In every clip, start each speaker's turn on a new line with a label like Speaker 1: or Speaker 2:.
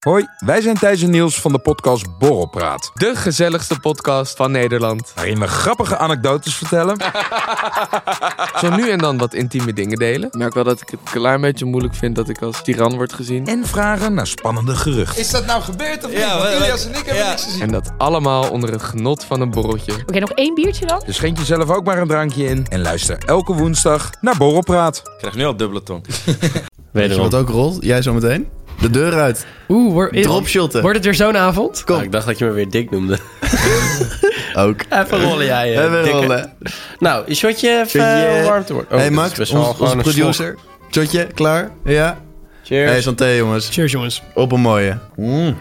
Speaker 1: Hoi, wij zijn Thijs en Niels van de podcast Borrelpraat.
Speaker 2: De gezelligste podcast van Nederland.
Speaker 1: Waarin we grappige anekdotes vertellen.
Speaker 2: Zo nu en dan wat intieme dingen delen. Ik merk wel dat ik het een klein beetje moeilijk vind dat ik als tiran word gezien.
Speaker 1: en vragen naar spannende geruchten.
Speaker 3: Is dat nou gebeurd of niet?
Speaker 4: Ja,
Speaker 3: Want
Speaker 4: wat-
Speaker 3: Ilias en ik hebben
Speaker 4: ja.
Speaker 3: niks gezien.
Speaker 2: En dat allemaal onder het genot van een borreltje.
Speaker 5: Oké, nog één biertje dan?
Speaker 1: Dus schenk jezelf ook maar een drankje in. En luister elke woensdag naar Borrelpraat.
Speaker 4: Ik krijg nu al dubbele tong.
Speaker 6: Weet je wat ook rolt? Jij zo meteen? De deur uit.
Speaker 7: Oeh, wor- is-
Speaker 6: Dropshotten.
Speaker 7: wordt het weer zo'n avond?
Speaker 6: Kom.
Speaker 8: ik dacht dat je me weer dik noemde.
Speaker 6: Ook.
Speaker 8: Even rollen jij. eh,
Speaker 6: Hebben we
Speaker 8: dikke.
Speaker 6: rollen.
Speaker 8: Nou, een shotje even
Speaker 6: Shotje.
Speaker 8: eh, warm te worden. Oh,
Speaker 6: hey
Speaker 8: dat is
Speaker 6: Max,
Speaker 8: best
Speaker 6: ons,
Speaker 8: wel gewoon
Speaker 6: onze
Speaker 8: een slok.
Speaker 6: producer. Shotje, klaar? Ja?
Speaker 8: Cheers.
Speaker 6: Hey, santé jongens.
Speaker 7: Cheers, jongens.
Speaker 6: Op een mooie. Mm.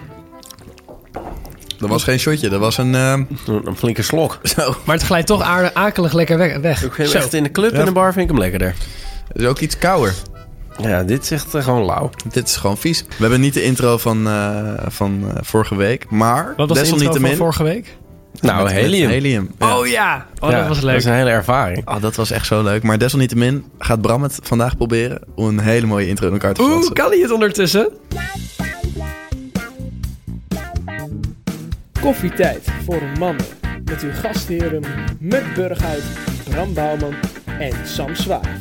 Speaker 6: Dat was geen shotje, dat was een... ehm,
Speaker 8: Een- een flinke slok.
Speaker 6: zo.
Speaker 7: Maar het glijdt toch aardig akelig lekker weg. weg.
Speaker 8: Ik vind
Speaker 7: Zo.
Speaker 8: hem echt in de club en de bar vind ik hem lekkerder.
Speaker 6: Het is ook iets kouder.
Speaker 8: Ja, dit is echt eh, gewoon lauw.
Speaker 6: Dit is gewoon vies. We hebben niet de intro van, eh, van eh, vorige week, maar
Speaker 7: Wat was de intro van
Speaker 6: desalniettemin...
Speaker 7: vorige week?
Speaker 8: Nou,
Speaker 6: met- met
Speaker 8: helium.
Speaker 6: helium. ja.
Speaker 7: Oh ja! Oh,
Speaker 8: Ja,
Speaker 7: dat was
Speaker 8: Dat
Speaker 7: leuk.
Speaker 8: is een hele ervaring.
Speaker 6: Ah, dat was echt zo leuk. Maar desalniettemin gaat Bram het vandaag proberen om een hele mooie intro in elkaar te
Speaker 7: Oeh,
Speaker 6: flansen.
Speaker 7: kan hij het ondertussen?
Speaker 9: Koffietijd voor mannen. Met uw gastheren Muk Burghuis, Bram Bouwman en Sam Zwaar.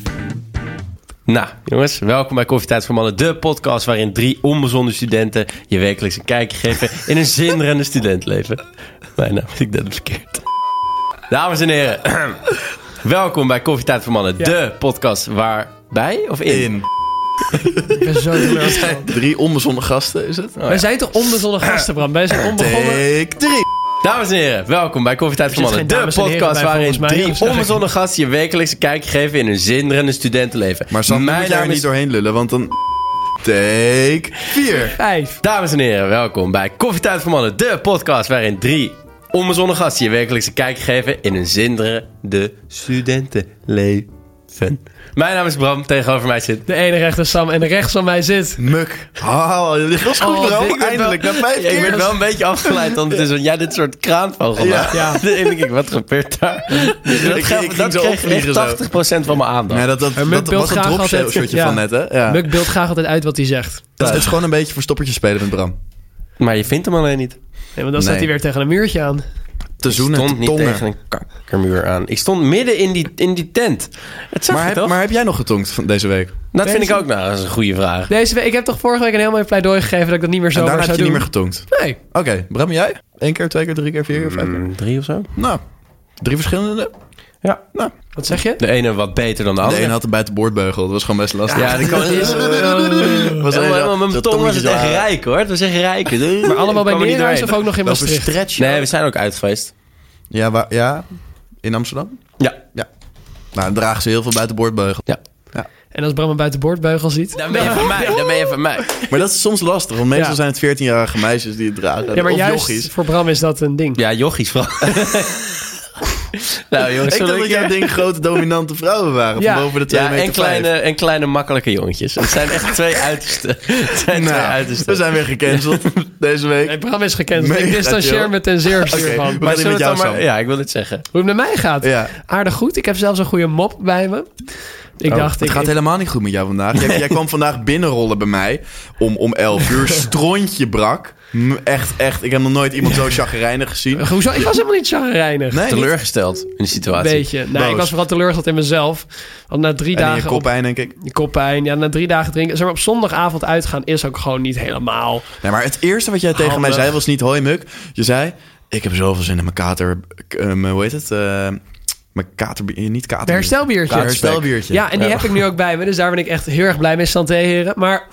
Speaker 8: Nou, jongens, welkom bij Koffietijd voor Mannen, de podcast waarin drie onbezonnen studenten je wekelijks een kijkje geven in een zinderende studentleven. Mijn naam, nou, ik deed het verkeerd. Dames en heren, welkom bij Koffietijd voor Mannen, de podcast waarbij of in?
Speaker 6: In.
Speaker 7: Ik ben zo teleurgesteld.
Speaker 6: Drie onbezonnen gasten is het? Oh
Speaker 7: Wij zijn toch onbezonnen gasten, Bram? Wij zijn onbegonnen.
Speaker 6: Take drie.
Speaker 8: Dames en heren, welkom bij Koffietijd voor
Speaker 7: Er zit
Speaker 8: Mannen. De
Speaker 7: geen dames en heren
Speaker 8: podcast
Speaker 7: bij,
Speaker 8: waarin
Speaker 7: volgens mij,
Speaker 8: drie
Speaker 7: of zeg ik?
Speaker 8: onbezonnen gasten je wekelijks een kijkje geven in een zinderende studentenleven.
Speaker 6: Maar Sam, Mijn moet je er niet doorheen lullen, want dan... Take vier.
Speaker 7: Vijf.
Speaker 8: Dames en heren, welkom bij Koffietijd voor Mannen. De podcast waarin drie onbezonnen gasten je wekelijks een kijkje geven in een zinderende studentenleven. Mijn naam is Bram, tegenover mij zit...
Speaker 7: De ene rechter Sam en rechts van mij zit.
Speaker 6: Muk. Oh, dit was goed,
Speaker 7: Oh,
Speaker 6: bro.
Speaker 7: dit-
Speaker 6: Eindelijk, na vijf
Speaker 8: Ja, ik
Speaker 6: keer.
Speaker 8: werd wel een beetje afgeleid, want het is, want jij dit soort kraanvogel
Speaker 6: Ja.
Speaker 8: maakt. Ja. Dan denk ik, wat gebeurt daar? Dus dat
Speaker 6: Ik-
Speaker 8: gaf-
Speaker 6: ik ging
Speaker 8: dat
Speaker 6: zo
Speaker 8: kreeg
Speaker 6: opvliegen zo.
Speaker 8: echt 80% van mijn aandacht.
Speaker 6: Nee, dat, dat,
Speaker 7: Maar Muk
Speaker 6: dat
Speaker 7: beeldt
Speaker 6: was een
Speaker 7: graag
Speaker 6: dropshotje
Speaker 7: altijd-
Speaker 6: shotje
Speaker 7: ja.
Speaker 6: van net, hè? Ja.
Speaker 7: Muk beeldt graag altijd uit wat hij zegt.
Speaker 6: Het is- het is gewoon een beetje verstoppertje spelen met Bram.
Speaker 8: Maar je vindt hem alleen niet.
Speaker 7: Nee, want dan staat
Speaker 6: Nee.
Speaker 7: hij weer tegen een muurtje aan.
Speaker 6: Te
Speaker 8: Ik
Speaker 6: zoenen,
Speaker 8: stond
Speaker 6: te
Speaker 8: niet
Speaker 6: tongen.
Speaker 8: tegen een kakkermuur aan. Ik stond midden in die, in die tent. Het zag
Speaker 6: Maar
Speaker 8: je
Speaker 6: heb,
Speaker 8: toch?
Speaker 6: maar heb jij nog getongd van deze week?
Speaker 8: dat vind ik ook nou, dat is een goede vraag.
Speaker 7: Deze week, ik heb toch vorige week een heel mooi pleidooi gegeven dat ik dat niet meer
Speaker 6: En
Speaker 7: zo
Speaker 6: daarna
Speaker 7: zou
Speaker 6: heb
Speaker 7: doen.
Speaker 6: je niet meer getongd.
Speaker 7: Nee.
Speaker 6: Oké, Bram, jij? Eén keer, twee keer, drie keer, vier keer, vijf keer?
Speaker 8: Mm, Drie of zo?
Speaker 6: Nou, drie verschillende.
Speaker 8: Ja.
Speaker 6: Nou,
Speaker 7: Wat zeg je?
Speaker 8: De ene wat beter dan de
Speaker 6: de
Speaker 8: andere.
Speaker 6: ene had een buitenboordbeugel. Dat was gewoon best lastig.
Speaker 8: Ja, die kan is.
Speaker 6: was
Speaker 8: Helemaal, helemaal
Speaker 6: zo
Speaker 8: mijn tong was
Speaker 6: tongetje
Speaker 8: het
Speaker 6: zo
Speaker 8: echt
Speaker 6: aan.
Speaker 8: rijk hoor. Het was echt rijk.
Speaker 7: Maar allemaal bij
Speaker 8: Kwam er niet
Speaker 7: Neerhuis of
Speaker 8: doorheen.
Speaker 7: ook nog in
Speaker 6: Dat is een
Speaker 7: Maastricht?
Speaker 6: stretch.
Speaker 8: Nee, we zijn ook uit geweest.
Speaker 6: Ja, waar, ja, in Amsterdam?
Speaker 8: Ja.
Speaker 6: Nou, dan dragen ze heel veel buitenboordbeugel.
Speaker 8: ja.
Speaker 7: En als Bram een buitenboordbeugel ziet.
Speaker 8: Dan ben je van mij. Dan ben je van mij.
Speaker 6: Maar dat is soms lastig, want meestal
Speaker 7: Ja.
Speaker 6: zijn het 14-jarige meisjes die het dragen.
Speaker 7: Ja, maar
Speaker 6: of
Speaker 7: juist
Speaker 6: jochies.
Speaker 7: voor Bram is dat een ding.
Speaker 8: Ja, jochies vooral. nou jongens,
Speaker 6: Ik dacht
Speaker 8: zullen
Speaker 6: dat jouw ding grote dominante vrouwen waren,
Speaker 7: Ja.
Speaker 6: van boven de 2
Speaker 8: Ja,
Speaker 6: meter
Speaker 8: en kleine, en kleine makkelijke jongetjes. Het zijn echt twee uitersten. Het zijn
Speaker 6: vijf.
Speaker 8: twee
Speaker 6: Nou,
Speaker 8: uitersten.
Speaker 6: we zijn weer gecanceld deze week.
Speaker 7: Nee, Bram is gekend.
Speaker 6: Mega
Speaker 7: Ik
Speaker 6: chill.
Speaker 7: distancieer me ten zeerste
Speaker 6: Oké,
Speaker 7: hiervan.
Speaker 6: maar-
Speaker 8: zullen we
Speaker 6: met
Speaker 8: het
Speaker 6: jou,
Speaker 8: dan
Speaker 6: Sam?
Speaker 8: Ja, ik wil het zeggen.
Speaker 7: Hoe het met mij gaat.
Speaker 6: Ja.
Speaker 7: Aardig goed. Ik heb zelfs een goede mop bij me. Ik dacht,
Speaker 6: Oh, Het
Speaker 7: ik,
Speaker 6: gaat
Speaker 7: ik-
Speaker 6: helemaal niet goed met jou vandaag. Jij, jij kwam vandaag binnenrollen bij mij om, om 11 uur. Strontje brak. M- Echt, echt. Ik heb nog nooit iemand zo chagrijnig gezien.
Speaker 7: hoezo? Ik was helemaal niet chagrijnig.
Speaker 6: Nee, niet?
Speaker 8: Teleurgesteld in de
Speaker 7: Een
Speaker 8: situatie.
Speaker 7: beetje. Nee, ik
Speaker 6: Boos.
Speaker 7: was vooral teleurgesteld in mezelf. Want na drie
Speaker 6: En in je
Speaker 7: dagen...
Speaker 6: kop
Speaker 7: Op,
Speaker 6: heen, denk ik.
Speaker 7: je koppijn. Ja, na drie dagen drinken. Zeg maar, op zondagavond uitgaan is ook gewoon niet helemaal...
Speaker 6: Nee, maar het eerste wat jij tegen mij
Speaker 7: Handig.
Speaker 6: zei was niet hoi Muk. Je zei, ik heb zoveel zin in mijn kater... k- eh, mijn- hoe heet het? Eh, mijn kater... eh, Niet kater.
Speaker 7: Mijn herstelbiertje.
Speaker 6: Katerspek. Herstelbiertje.
Speaker 7: Ja, en die heb ik nu ook bij me. Dus daar ben ik echt heel erg blij mee. Santé, heren. Maar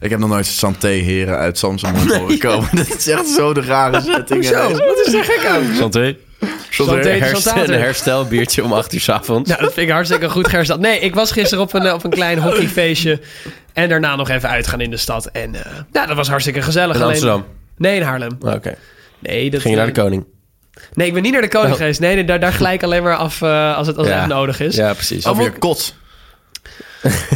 Speaker 6: Ik heb nog nooit santé heren uit Samsung horen komen. Dat is echt zo de rare setting.
Speaker 7: hoezo?
Speaker 6: ineens.
Speaker 7: Wat is er gek aan?
Speaker 8: Santé.
Speaker 7: Santé,
Speaker 8: Een
Speaker 7: santé.
Speaker 8: herstel, een herstelbiertje om 8 uur 's avonds.
Speaker 7: Nou, dat vind ik hartstikke goed hersteld. Nee, ik was gisteren op een, eh, op een klein hockeyfeestje. En daarna nog even uitgaan in de stad. En eh, nou, dat was hartstikke gezellig.
Speaker 8: In
Speaker 7: Alleen-
Speaker 8: Amsterdam? Ah,
Speaker 7: Nee, in Haarlem.
Speaker 8: Oké.
Speaker 7: Nee, dat,
Speaker 8: Ging je naar
Speaker 7: eh,
Speaker 8: de koning?
Speaker 7: Nee, ik ben niet naar de koning
Speaker 8: Oh.
Speaker 7: geweest. Nee, nee, daar, daar gelijk alleen maar af eh, als het, als het echt nodig is.
Speaker 8: Ja, precies.
Speaker 6: Over je kot.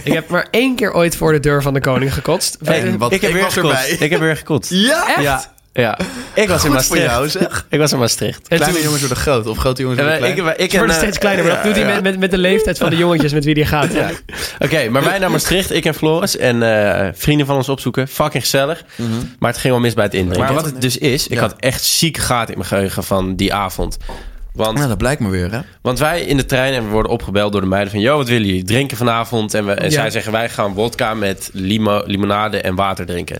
Speaker 7: Ik heb maar één keer ooit voor de deur van de koning gekotst.
Speaker 6: En wat,
Speaker 8: ik heb weer
Speaker 6: was
Speaker 8: gekotst.
Speaker 6: erbij.
Speaker 8: Ik heb weer gekotst.
Speaker 6: Ja?
Speaker 7: Echt?
Speaker 8: Ja. Ja. Ik was in
Speaker 6: Goed voor
Speaker 8: Maastricht.
Speaker 6: jou, dus- zeg.
Speaker 8: Ik was in Maastricht.
Speaker 6: Kleine jongens worden groot of grote jongens
Speaker 8: En wij-
Speaker 6: worden klein.
Speaker 8: ik, wij- ik
Speaker 7: Ze
Speaker 8: en,
Speaker 7: worden
Speaker 8: eh,
Speaker 7: steeds kleiner, maar dat doet hij met, met, met de leeftijd van de jongetjes met wie hij gaat. Ja.
Speaker 8: Oké, maar wij naar Maastricht, ik en Floris en eh, vrienden van ons opzoeken. Fucking gezellig. Maar het ging wel mis bij het indrinken. Maar wat het dus is, ik had echt ziek gaten in mijn geheugen van die avond. Want
Speaker 6: Nou, dat blijkt me weer, hè?
Speaker 8: Want wij in de trein en we worden opgebeld door de meiden van... ...joh, wat willen jullie? Drinken vanavond? En, we, en
Speaker 7: Ja.
Speaker 8: zij zeggen, wij gaan wodka met limo, limonade en water drinken.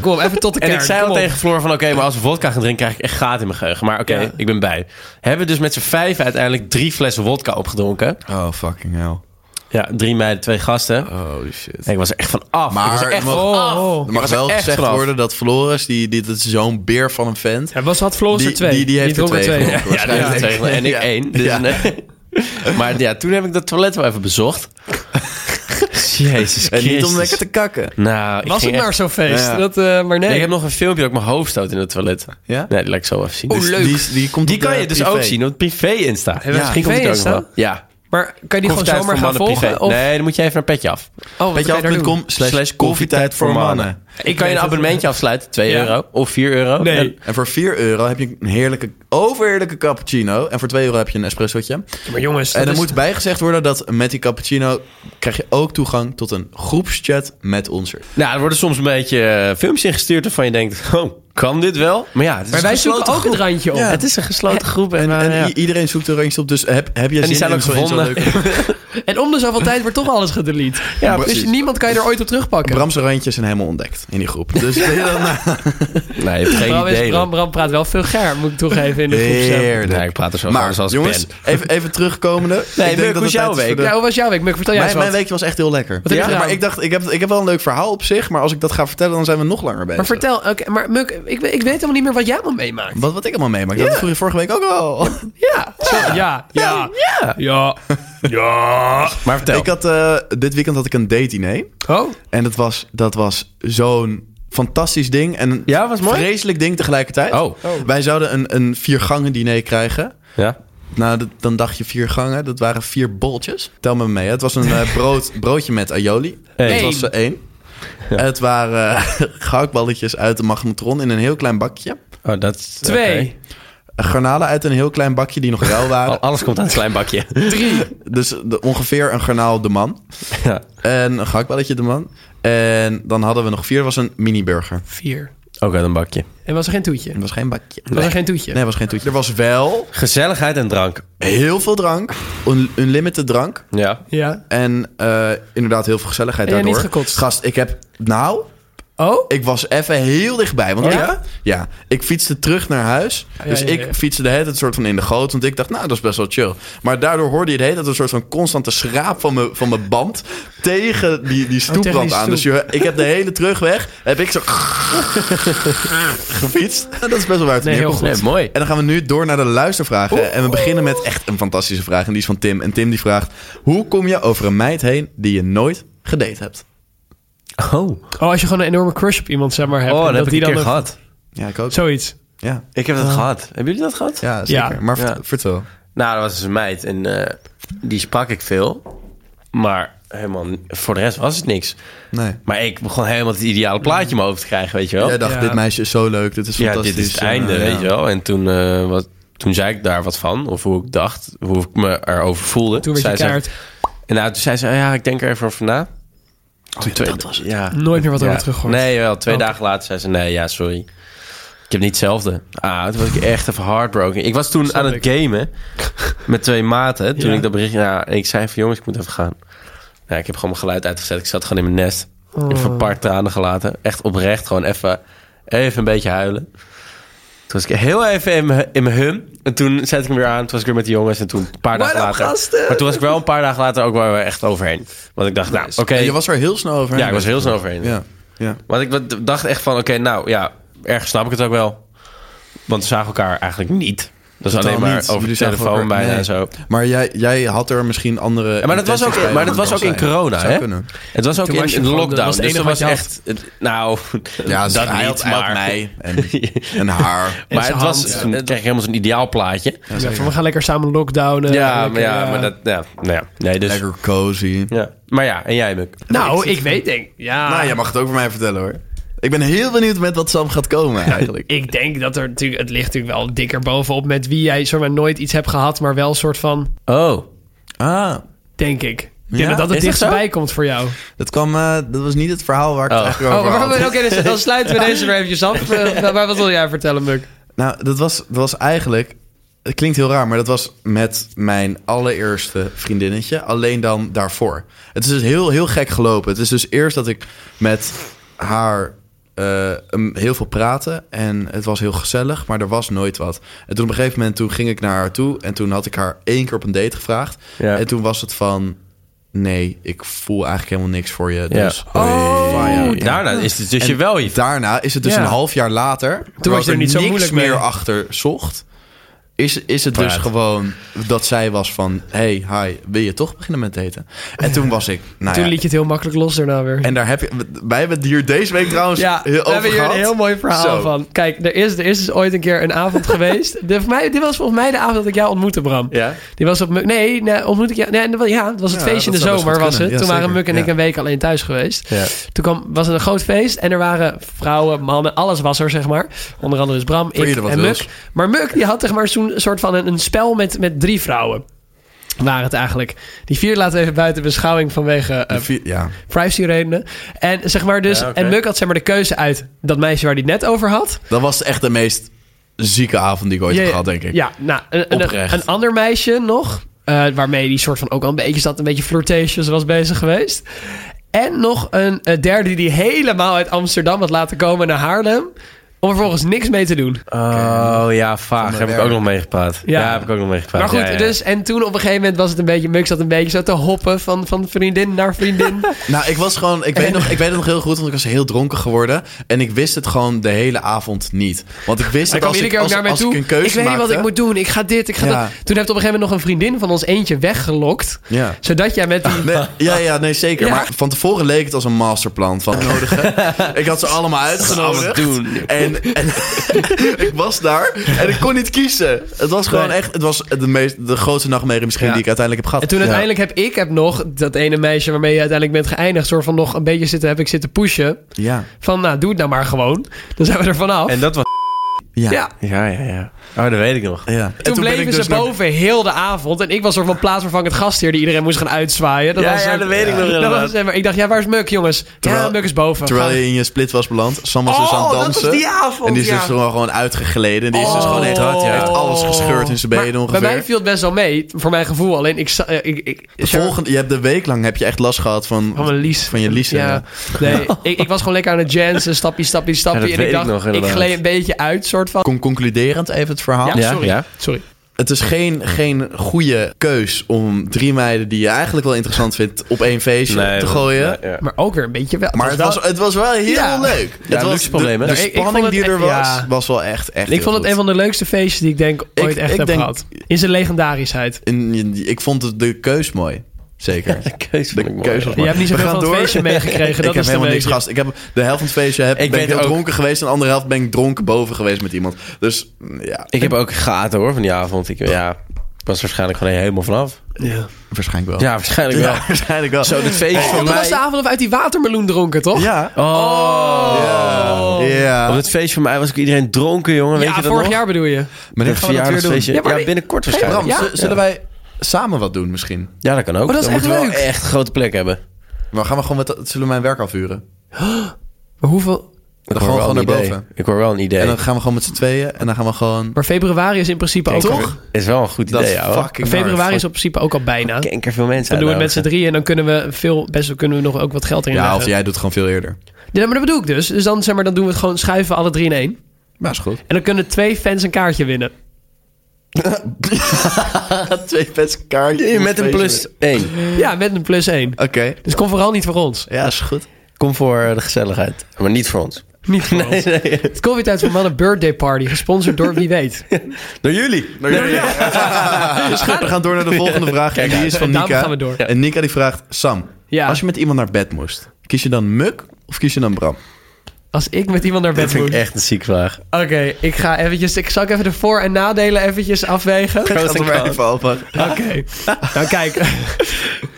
Speaker 7: Kom, even tot de
Speaker 8: En
Speaker 7: kern.
Speaker 8: ik zei
Speaker 7: kom
Speaker 8: al
Speaker 7: op.
Speaker 8: tegen Floor van... ...oké, maar als we wodka gaan drinken krijg ik echt gaten in mijn geheugen. Maar oké,
Speaker 7: Ja.
Speaker 8: ik ben bij. Hebben we dus met z'n vijf uiteindelijk drie flessen wodka opgedronken.
Speaker 6: Oh, fucking hell.
Speaker 8: Ja, drie meiden, twee gasten.
Speaker 6: Oh, shit.
Speaker 8: En ik was er echt van af.
Speaker 6: Maar
Speaker 8: ik was er echt
Speaker 6: mag-
Speaker 7: Oh,
Speaker 8: van af.
Speaker 6: Er mag wel
Speaker 8: echt
Speaker 6: gezegd
Speaker 8: vanaf.
Speaker 6: worden dat Floris, die, die, dat is zo'n beer van een vent.
Speaker 7: Ja, was had Floris
Speaker 6: Die,
Speaker 7: er twee.
Speaker 6: die, die heeft er
Speaker 7: dronk
Speaker 6: twee.
Speaker 7: Ja.
Speaker 6: gedronken,
Speaker 8: Ja, die heeft er twee
Speaker 6: waarschijnlijk.
Speaker 8: gewonnen. en ik
Speaker 6: Ja.
Speaker 8: één. Dus
Speaker 6: Ja.
Speaker 8: nee. Maar ja, toen heb ik dat toilet wel even bezocht. Jezus Christus.
Speaker 6: En niet om lekker te kakken.
Speaker 8: Nou, ik
Speaker 7: Was
Speaker 8: ging
Speaker 7: het maar
Speaker 8: echt-
Speaker 7: zo'n feest?
Speaker 6: Ja.
Speaker 7: Dat, eh, maar nee.
Speaker 8: Nee, ik heb nog een filmpje dat ik mijn hoofd stoot in het toilet.
Speaker 6: Ja?
Speaker 8: Nee, die laat ik zo even zien.
Speaker 7: Oh,
Speaker 8: Dus-
Speaker 7: leuk.
Speaker 6: Die, die komt
Speaker 8: Die
Speaker 6: op
Speaker 8: kan
Speaker 6: de
Speaker 8: je dus
Speaker 6: privé.
Speaker 8: ook zien op privé Insta.
Speaker 7: we een
Speaker 8: misschien komt het ook nog
Speaker 7: privé-Insta?
Speaker 8: wel. Ja.
Speaker 7: maar kan je die gewoon
Speaker 8: Koffietijd
Speaker 7: zomaar
Speaker 8: voor
Speaker 7: gaan
Speaker 8: mannen
Speaker 7: volgen?
Speaker 8: privé.
Speaker 7: Of,
Speaker 8: Nee, dan moet je even naar Petje af.
Speaker 7: oh, wat kan je daar doen?
Speaker 6: Petjeaf.com slash koffietijd voor mannen.
Speaker 8: Ik kan je een
Speaker 7: weet het.
Speaker 8: abonnementje afsluiten, 2
Speaker 7: Ja.
Speaker 8: euro of 4 euro.
Speaker 7: Nee.
Speaker 8: En-
Speaker 6: En voor 4 euro heb je een heerlijke, overheerlijke cappuccino. En voor 2 euro heb je een espressotje.
Speaker 7: Maar jongens,
Speaker 6: En
Speaker 7: dat
Speaker 6: er
Speaker 8: dus-
Speaker 7: is-
Speaker 6: moet bijgezegd worden dat met die cappuccino krijg je ook toegang tot een groepschat met ons. er.
Speaker 8: nou, er worden soms een beetje eh, films ingestuurd waarvan je denkt, oh, kan dit wel? Maar ja, het is
Speaker 7: maar wij
Speaker 8: een gesloten
Speaker 7: zoeken ook
Speaker 8: groep.
Speaker 7: het randje op.
Speaker 6: Ja.
Speaker 8: Het is een gesloten groep. En,
Speaker 6: En
Speaker 8: eh, ja.
Speaker 6: i- iedereen zoekt er eens op, dus heb, heb je
Speaker 8: En die
Speaker 6: zin
Speaker 8: zijn
Speaker 6: in
Speaker 8: ook
Speaker 6: zo- in zo'n
Speaker 8: gevonden.
Speaker 6: leuke-
Speaker 7: En om de zoveel tijd wordt toch alles gedelete.
Speaker 8: Ja,
Speaker 7: dus
Speaker 6: precies.
Speaker 7: niemand kan je er ooit op terugpakken.
Speaker 6: Bramse randjes zijn helemaal ontdekt in die groep. Dus wil je dat nou-
Speaker 8: Nee, je hebt geen
Speaker 7: Bram, is-
Speaker 8: idee.
Speaker 7: Bram, Bram praat wel veel ger, moet ik toegeven, in de groep.
Speaker 8: Nee, ik praat er zo
Speaker 6: Maar
Speaker 8: maar, als
Speaker 6: jongens,
Speaker 8: ik ben.
Speaker 6: even, even terugkomende. Ik denk
Speaker 8: Muk,
Speaker 6: dat
Speaker 8: hoe
Speaker 6: het
Speaker 8: is jouw
Speaker 6: tijd is voor
Speaker 8: week?
Speaker 6: de-
Speaker 7: Oh Ja, hoe was jouw week? Muk, vertel jij eens
Speaker 6: Mijn,
Speaker 7: wat.
Speaker 6: mijn weekje was echt heel lekker.
Speaker 7: Wat heb je
Speaker 6: ja,
Speaker 7: gedaan?
Speaker 6: maar ik dacht, ik heb, ik heb wel een leuk verhaal op zich, maar als ik dat ga vertellen, dan zijn we nog langer bezig.
Speaker 7: maar vertel, oké, maar Muk, ik, we- ik weet helemaal niet meer wat jij allemaal meemaakt.
Speaker 6: Wat, wat ik allemaal meemaak, dat vroeg je vorige week ook al.
Speaker 7: Ja. Zo, ja, ja, ja, ja,
Speaker 8: Maar vertel.
Speaker 6: Ik had, eh, dit weekend had ik een date diner.
Speaker 7: Oh,
Speaker 6: En dat was, dat was zo'n fantastisch ding. En een
Speaker 8: Ja, was mooi?
Speaker 6: vreselijk ding tegelijkertijd.
Speaker 8: Oh.
Speaker 6: Wij zouden een, een vier gangen diner krijgen.
Speaker 8: Ja.
Speaker 6: Nou, dat- dan dacht je vier gangen. Dat waren vier bolletjes. Tel me mee. hè. Het was een eh, brood, broodje met aioli.
Speaker 8: Hey.
Speaker 6: Het was er één. Het waren eh, gehaktballetjes uit de magnetron in een heel klein bakje.
Speaker 8: Oh, dat is-
Speaker 7: twee,
Speaker 8: oké.
Speaker 6: Garnalen uit een heel klein bakje die nog rauw
Speaker 8: Al-
Speaker 6: waren.
Speaker 8: Alles komt uit een klein bakje.
Speaker 7: drie.
Speaker 6: Dus de- ongeveer een garnaal de man.
Speaker 8: Ja.
Speaker 6: En een gehaktballetje de man. En dan hadden we nog vier. Dat was een mini-burger.
Speaker 7: vier.
Speaker 8: Ook uit Oh, een bakje.
Speaker 7: En was er geen toetje?
Speaker 6: Dat was geen bakje.
Speaker 7: Was er geen toetje?
Speaker 6: Nee, was geen toetje. Er was wel
Speaker 8: Gezelligheid en drank.
Speaker 6: heel veel drank. Un unlimited drank.
Speaker 8: Ja.
Speaker 7: Ja.
Speaker 6: En eh, inderdaad heel veel gezelligheid
Speaker 7: En jij
Speaker 6: daardoor.
Speaker 7: niet gekotst?
Speaker 6: Gast, ik heb... Nou,
Speaker 7: Oh?
Speaker 6: ik was even heel dichtbij. Want
Speaker 7: Oh,
Speaker 6: ik-
Speaker 7: ja?
Speaker 6: ja, ik fietste terug naar huis. Dus
Speaker 7: ja, ja.
Speaker 6: ik fietste de hele tijd soort van in de goot. Want ik dacht, nou, dat is best wel chill. Maar daardoor hoorde je de hele tijd een soort van constante schraap van mijn, van mijn band... tegen die, die stoeprand
Speaker 7: Oh, tegen die
Speaker 6: aan.
Speaker 7: stoep.
Speaker 6: Dus je, ik heb de hele terugweg... heb ik zo gefietst. Dat is best wel waar het
Speaker 7: Nee, heel
Speaker 6: neerkomt.
Speaker 7: goed.
Speaker 8: Nee, mooi.
Speaker 6: En dan gaan we nu door naar de luistervragen. En we beginnen met echt een fantastische vraag. En die is van Tim. En Tim die vraagt... Hoe kom je over een meid heen die je nooit gedate hebt?
Speaker 8: Oh,
Speaker 7: Oh, als je gewoon een enorme crush op iemand, zeg maar, hebt. en
Speaker 8: oh dat heb
Speaker 7: die
Speaker 8: ik een keer
Speaker 7: dan een-
Speaker 8: gehad.
Speaker 6: Ja, ik ook.
Speaker 7: Zoiets.
Speaker 6: Ja,
Speaker 8: Ik heb dat gehad. Hebben jullie dat gehad?
Speaker 6: ja zeker.
Speaker 7: Ja.
Speaker 6: Maar ver-
Speaker 8: Ja.
Speaker 6: vertel.
Speaker 8: Nou, dat was dus een meid en eh, die sprak ik veel. Maar helemaal, voor de rest was het niks.
Speaker 6: Nee.
Speaker 8: Maar ik begon helemaal het ideale plaatje in mijn hoofd te krijgen, weet je wel.
Speaker 6: Jij dacht,
Speaker 7: Ja.
Speaker 6: dit meisje is zo leuk. Dit is
Speaker 8: ja,
Speaker 6: fantastisch.
Speaker 8: dit is het
Speaker 6: En,
Speaker 8: einde,
Speaker 6: eh,
Speaker 8: weet
Speaker 6: ja.
Speaker 8: je wel. En toen, eh, wat, toen zei ik daar wat van, of hoe ik dacht, hoe ik me erover voelde.
Speaker 7: Toen werd je
Speaker 8: Zij zei-
Speaker 7: kaart.
Speaker 8: en nou, toen zei ze, ja, ik denk er even over na. Toen twee-
Speaker 6: dat was het.
Speaker 8: Ja.
Speaker 7: Nooit meer wat
Speaker 8: Ja.
Speaker 7: over teruggehoord.
Speaker 8: Nee, wel. Twee
Speaker 7: Oh.
Speaker 8: dagen later zei ze, nee, ja, sorry. Ik heb niet hetzelfde. Ah, toen was ik echt even heartbroken. Ik was toen aan het gamen met twee maten. Toen
Speaker 7: Ja.
Speaker 8: ik dat bericht... Ja, en ik zei van, jongens, ik moet even gaan. Nou, ik heb gewoon mijn geluid uitgezet. Ik zat gewoon in mijn nest.
Speaker 7: Oh.
Speaker 8: Even een paar tranen gelaten. Echt oprecht. Gewoon even, even een beetje huilen. Toen was ik heel even in mijn- in mijn hum. En toen zette ik hem weer aan. Toen was ik weer met de jongens. En toen een paar dagen
Speaker 7: dan,
Speaker 8: later...
Speaker 7: gasten?
Speaker 8: Maar toen was ik wel een paar dagen later ook wel weer echt overheen. Want ik dacht, nou, oké.
Speaker 6: En Je was er heel snel over.
Speaker 8: Ja, ik was heel snel overheen.
Speaker 6: Ja. Ja.
Speaker 8: Want ik wat- dacht echt van, oké, nou ja, ergens snap ik het ook wel. Want we zagen elkaar eigenlijk niet. Dat is
Speaker 6: Totaal
Speaker 8: alleen maar
Speaker 6: niet.
Speaker 8: over de
Speaker 6: Jullie zagen
Speaker 8: telefoon
Speaker 6: elkaar-
Speaker 8: bijna
Speaker 6: nee.
Speaker 8: en zo.
Speaker 6: Maar jij, jij had er misschien andere...
Speaker 8: Ja, maar dat was
Speaker 6: intenties
Speaker 8: ook,
Speaker 6: bij
Speaker 8: maar dat
Speaker 6: dan
Speaker 8: was ook
Speaker 6: zij.
Speaker 8: in corona,
Speaker 6: Zou
Speaker 8: hè?
Speaker 6: kunnen.
Speaker 8: Het was ook
Speaker 7: Toen
Speaker 8: in,
Speaker 7: was je
Speaker 8: in de
Speaker 7: gewoon-
Speaker 8: lockdown.
Speaker 7: dat was het
Speaker 8: dus dat
Speaker 7: enige
Speaker 8: was
Speaker 7: wat je
Speaker 8: echt... het- Nou,
Speaker 6: Ja,
Speaker 8: dat
Speaker 6: hij
Speaker 8: niet,
Speaker 6: had, hij had
Speaker 8: maar...
Speaker 6: mij en, en haar.
Speaker 8: Maar
Speaker 7: zijn
Speaker 8: het was,
Speaker 7: hand.
Speaker 8: toen kreeg je helemaal zo'n ideaal plaatje. Ja,
Speaker 7: Ja, van, we gaan lekker samen lockdownen.
Speaker 8: maar,
Speaker 7: Lekker,
Speaker 8: ja,
Speaker 7: eh,
Speaker 8: maar dat... Ja, nou ja, nee, dus...
Speaker 6: Lekker cozy.
Speaker 8: Ja. Maar ja, en jij, Muk?
Speaker 7: Nou, ik weet denk... Ja,
Speaker 6: Nou, jij mag het ook voor mij vertellen, hoor. Ik ben heel benieuwd met wat Sam gaat komen eigenlijk.
Speaker 7: Ik denk dat er natuurlijk, het ligt natuurlijk wel dikker bovenop met wie jij zomaar nooit iets hebt gehad, maar wel een soort van,
Speaker 8: Oh.
Speaker 6: Ah,
Speaker 7: denk ik. Ik denk
Speaker 6: Ja?
Speaker 7: dat dat
Speaker 8: Is
Speaker 7: het
Speaker 8: dat
Speaker 7: dichtstbij komt voor jou.
Speaker 6: dat, kwam, eh, dat was niet het verhaal waar ik
Speaker 8: Oh.
Speaker 6: het eigenlijk over had.
Speaker 7: dus dan sluiten we deze weer eventjes af. maar wat wil jij vertellen, Muk?
Speaker 6: Nou, dat was, dat was eigenlijk... Het klinkt heel raar, maar dat was met mijn allereerste vriendinnetje. Alleen dan daarvoor. Het is dus heel, heel gek gelopen. Het is dus eerst dat ik met haar eh, een- heel veel praatte. En het was heel gezellig, maar er was nooit wat. En toen op een gegeven moment toen ging ik naar haar toe. En toen had ik haar één keer op een date gevraagd.
Speaker 8: Ja.
Speaker 6: En toen was het van... Nee, ik voel eigenlijk helemaal niks voor je.
Speaker 8: Ja.
Speaker 6: Dus fire.
Speaker 8: Oh, daarna is het dus je wel je...
Speaker 6: Daarna is het dus
Speaker 7: Oh, Ja.
Speaker 6: een half jaar later.
Speaker 7: Toen was je er niet zo
Speaker 6: niks
Speaker 7: moeilijk mee.
Speaker 6: meer achter zocht. Is, is het dus
Speaker 8: Praat.
Speaker 6: gewoon dat zij was van... Hey, hi, wil je toch beginnen met daten? En toen was ik... Nou
Speaker 7: Toen
Speaker 6: ja,
Speaker 7: liet je het heel makkelijk los daarna weer.
Speaker 6: En daar heb je... Wij hebben het hier deze week trouwens
Speaker 7: Ja, we
Speaker 6: heel over
Speaker 7: hebben hier een
Speaker 6: gehad.
Speaker 7: heel mooi verhaal
Speaker 6: Zo.
Speaker 7: van. Kijk, er is, er is dus ooit een keer een avond geweest. De, voor mij, dit was volgens mij de avond dat ik jou ontmoette, Bram.
Speaker 8: Ja?
Speaker 7: Die was op Muk. Nee, nee ontmoet ik jou. Nee, dat was- ja, het was het
Speaker 6: Ja,
Speaker 7: feestje in
Speaker 6: dat
Speaker 7: de
Speaker 6: zou best
Speaker 7: zomer,
Speaker 6: goed
Speaker 7: was het.
Speaker 6: kunnen. Ja,
Speaker 7: Toen waren
Speaker 6: zeker.
Speaker 7: Muk en ik
Speaker 6: Ja.
Speaker 7: een week alleen thuis geweest.
Speaker 8: Ja.
Speaker 7: Toen kwam, was het een groot feest en er waren vrouwen, mannen, alles was er, zeg maar. Onder andere dus Bram, ik
Speaker 6: ieder wat
Speaker 7: en Muk.
Speaker 6: wils.
Speaker 7: Maar Muk, die had zeg maar zo'n soort van een, een spel met, met drie vrouwen. Waren het eigenlijk. Die vier laten we even buiten beschouwing vanwege eh,
Speaker 6: De vi- Ja.
Speaker 7: privacy redenen. En zeg maar dus,
Speaker 8: Ja, oké.
Speaker 7: en Muk had zeg maar de keuze uit dat meisje waar hij het net over had.
Speaker 6: Dat was echt de meest zieke avond die ik ooit
Speaker 7: Ja,
Speaker 6: heb gehad, denk ik.
Speaker 7: Ja, nou, een, een,
Speaker 6: Oprecht.
Speaker 7: een ander meisje nog, eh, waarmee die soort van ook al een beetje zat, een beetje flirtatious was bezig geweest. En nog een, eh, derde die helemaal uit Amsterdam had laten komen naar Haarlem. Om er vervolgens niks mee te doen.
Speaker 8: Oh ja, vaag. Heb ik
Speaker 6: werk.
Speaker 8: ook nog meegepraat.
Speaker 7: Ja.
Speaker 8: Ja. heb ik ook nog meegepraat.
Speaker 7: Maar goed,
Speaker 8: Ja, ja.
Speaker 7: dus. En toen op een gegeven moment was het een beetje. Muk zat een beetje zo te hoppen van, van vriendin naar vriendin.
Speaker 6: Nou, ik was gewoon... Ik weet, nog, ik weet het nog heel goed, want ik was heel dronken geworden. En ik wist het gewoon de hele avond niet. Want ik wist
Speaker 7: Hij kwam
Speaker 6: dat als
Speaker 7: iedere
Speaker 6: ik,
Speaker 7: keer ook
Speaker 6: als,
Speaker 7: naar mij
Speaker 6: als
Speaker 7: toe.
Speaker 6: ik een keuze
Speaker 7: weet niet wat
Speaker 6: maakte-
Speaker 7: ik moet doen. Ik ga dit, ik ga dat.
Speaker 6: Ja.
Speaker 7: Toen heeft op een gegeven moment nog een vriendin van ons eentje weggelokt.
Speaker 6: Ja.
Speaker 7: Zodat jij met die...
Speaker 6: Nee, ja, ja, nee, zeker.
Speaker 7: Ja.
Speaker 6: Maar van tevoren leek het als een masterplan van nodigen. ik had ze allemaal uitgenodigd.
Speaker 8: doen.
Speaker 6: En, en ik was daar en ik kon niet kiezen. Het was gewoon echt, het was de, meest, de grootste nachtmerrie misschien
Speaker 8: Ja.
Speaker 6: die ik uiteindelijk heb gehad.
Speaker 7: En toen uiteindelijk heb ik heb nog dat ene meisje waarmee je uiteindelijk bent geëindigd... soort van nog een beetje zitten, heb ik zitten pushen.
Speaker 6: Ja.
Speaker 7: Van nou, doe het nou maar gewoon. Dan zijn we er vanaf.
Speaker 8: En dat was...
Speaker 6: Ja.
Speaker 7: Ja.
Speaker 6: ja.
Speaker 8: Ja, ja, ja. Oh, dat weet ik nog.
Speaker 6: En
Speaker 7: Toen,
Speaker 6: ben
Speaker 7: bleven
Speaker 6: ik
Speaker 7: ze
Speaker 6: dus naar-
Speaker 7: boven heel de avond. En ik was soort van plaatsvervangend gastheer die iedereen moest gaan uitzwaaien. Dat
Speaker 8: Ja,
Speaker 7: was
Speaker 8: ja,
Speaker 7: een-
Speaker 8: dat weet ik nog
Speaker 7: dat
Speaker 8: inderdaad.
Speaker 7: was, zeg maar, Ik dacht, ja, waar is Muk, jongens? ja,
Speaker 6: Terwijl-
Speaker 7: Muk is boven.
Speaker 6: Terwijl
Speaker 7: Ga-
Speaker 6: je in je split was beland. Sam was
Speaker 7: Oh,
Speaker 6: dus aan het dansen.
Speaker 8: avond,
Speaker 6: en die is dus gewoon, gewoon uitgegleden. En die is dus gewoon echt,
Speaker 8: dat, ja.
Speaker 6: heeft alles gescheurd in zijn
Speaker 7: Oh. Maar
Speaker 6: benen
Speaker 7: bij
Speaker 6: ongeveer.
Speaker 7: mij viel het best wel mee, voor mijn gevoel. Alleen ik... za- eh, ik, ik
Speaker 6: De volgende, je hebt de week lang heb je echt last gehad van,
Speaker 7: Van mijn lies.
Speaker 6: van je lies.
Speaker 7: Ja, nee, ik, ik was gewoon lekker aan het jansen, stapje, stapje, stapje.
Speaker 8: Ja, dat
Speaker 7: en ik
Speaker 8: weet
Speaker 7: dacht,
Speaker 8: ik nog,
Speaker 7: ik,
Speaker 8: inderdaad.
Speaker 7: gleed een beetje uit, soort van.
Speaker 6: Con- concluderend even het verhaal.
Speaker 7: Ja,
Speaker 8: Ja,
Speaker 7: sorry.
Speaker 8: ja.
Speaker 7: sorry.
Speaker 6: Het is geen, geen goede keus om drie meiden die je eigenlijk wel interessant vindt op één feestje
Speaker 8: Nee,
Speaker 6: te
Speaker 8: dat-
Speaker 6: gooien.
Speaker 8: ja, ja.
Speaker 7: Maar ook weer een beetje wel.
Speaker 6: Maar het was, het was wel heel
Speaker 7: Ja.
Speaker 6: leuk.
Speaker 8: Ja,
Speaker 6: het was
Speaker 8: luxe probleem, hè?
Speaker 6: De, de
Speaker 7: Nou, ik- ik vond
Speaker 6: spanning
Speaker 7: het
Speaker 6: die er was,
Speaker 7: echt- ja.
Speaker 6: was wel echt, echt
Speaker 7: ik vond het een van de leukste feestjes die ik denk ooit echt
Speaker 6: ik
Speaker 7: heb
Speaker 6: denk-
Speaker 7: gehad. In zijn legendarischheid.
Speaker 6: ik vond het de keus mooi. Zeker. De
Speaker 8: Keus vond ik mooi,
Speaker 6: keus
Speaker 8: ja.
Speaker 6: was
Speaker 7: Je
Speaker 6: mooi.
Speaker 7: hebt niet zoveel
Speaker 6: We
Speaker 7: van
Speaker 6: gaan
Speaker 7: het
Speaker 6: door.
Speaker 7: feestje meegekregen, dat
Speaker 6: ik
Speaker 7: is
Speaker 6: heb
Speaker 7: de
Speaker 6: helemaal niks
Speaker 7: beetje.
Speaker 6: gast. Ik heb de helft van het feestje heb,
Speaker 8: Ik
Speaker 6: ben
Speaker 8: weet
Speaker 6: ik heel
Speaker 8: ook-
Speaker 6: dronken geweest. En de andere helft ben ik dronken boven geweest met iemand. Dus mm, ja,
Speaker 8: Ik heb ook gaten hoor van die avond. Ik ja, ik was waarschijnlijk gewoon helemaal vanaf.
Speaker 7: Ja.
Speaker 6: waarschijnlijk wel.
Speaker 8: Ja, waarschijnlijk wel.
Speaker 6: waarschijnlijk wel.
Speaker 8: Zo, dit feest van
Speaker 7: Dat was de
Speaker 8: mij.
Speaker 7: avond dat we uit die watermeloen dronken, toch?
Speaker 6: Ja.
Speaker 8: Oh.
Speaker 6: Ja. Ja.
Speaker 8: Op het feest van mij was ik iedereen dronken, jongen. Weet
Speaker 7: Ja,
Speaker 8: je dat
Speaker 7: vorig
Speaker 8: nog?
Speaker 7: jaar bedoel je.
Speaker 6: Maar dit
Speaker 8: Het
Speaker 6: gaan we dat weer doen.
Speaker 8: verjaardagsfeestje.
Speaker 7: Ja, maar
Speaker 8: Ja,
Speaker 7: die-
Speaker 8: binnenkort waarschijnlijk.
Speaker 6: Bram,
Speaker 7: Ja.
Speaker 6: z- zullen wij samen wat doen misschien?
Speaker 8: Ja, dat kan ook.
Speaker 7: Oh, dat is
Speaker 8: Dan
Speaker 7: echt
Speaker 8: moeten we
Speaker 7: leuk.
Speaker 8: wel echt een grote plek hebben.
Speaker 6: Maar gaan we gewoon met, zullen we mijn werk afhuren?
Speaker 7: Maar hoeveel...
Speaker 6: Dan
Speaker 8: Ik
Speaker 6: gaan
Speaker 8: hoor
Speaker 6: we
Speaker 8: wel
Speaker 6: gewoon naar
Speaker 8: een idee.
Speaker 6: boven.
Speaker 8: Ik hoor wel een idee.
Speaker 6: En dan gaan we gewoon met z'n tweeën en dan gaan we gewoon...
Speaker 7: Maar februari is in principe ook al...
Speaker 8: Toch? Is wel een goed
Speaker 6: Dat
Speaker 8: idee,
Speaker 6: is
Speaker 8: ja.
Speaker 6: fucking
Speaker 7: Februari
Speaker 6: hard.
Speaker 7: is in principe ook al bijna. Dan
Speaker 8: Kenker veel mensen
Speaker 7: doen we het met z'n
Speaker 8: uitnodigen.
Speaker 7: drieën en dan kunnen we, veel, best, wel kunnen we nog ook wat geld in
Speaker 6: Ja,
Speaker 7: leggen.
Speaker 6: of jij doet het gewoon veel eerder.
Speaker 7: Ja, maar dat bedoel ik dus. Dus dan, zeg maar, dan doen we het gewoon schuiven alle drie in één.
Speaker 6: Maar is goed.
Speaker 7: En dan kunnen twee fans een kaartje winnen.
Speaker 6: Twee beste kaartjes.
Speaker 8: Met een plus één.
Speaker 7: Ja, met een plus één.
Speaker 6: Oké.
Speaker 7: Dus kom vooral niet voor ons.
Speaker 6: Ja, is goed.
Speaker 8: Kom voor de gezelligheid. Maar niet voor ons.
Speaker 7: Niet voor ons. Het komt weer tijd voor Mannen Birthday Party, gesponsord door wie weet.
Speaker 8: Door jullie.
Speaker 6: we gaan door naar de volgende vraag. en die is van
Speaker 7: Daarom
Speaker 6: Nika.
Speaker 7: gaan we door.
Speaker 6: En Nika die vraagt... Sam,
Speaker 7: Ja.
Speaker 6: als je met iemand naar bed moest... kies je dan Muk of kies je dan Bram?
Speaker 7: Als ik met iemand naar
Speaker 8: Dat
Speaker 7: bed
Speaker 8: vind
Speaker 7: moet.
Speaker 8: ik echt een ziek vraag.
Speaker 7: Oké, ik ga eventjes, ik zal ik even de voor- en nadelen eventjes afwegen. Oké.
Speaker 6: Gaat er maar even over.
Speaker 7: Nou kijk,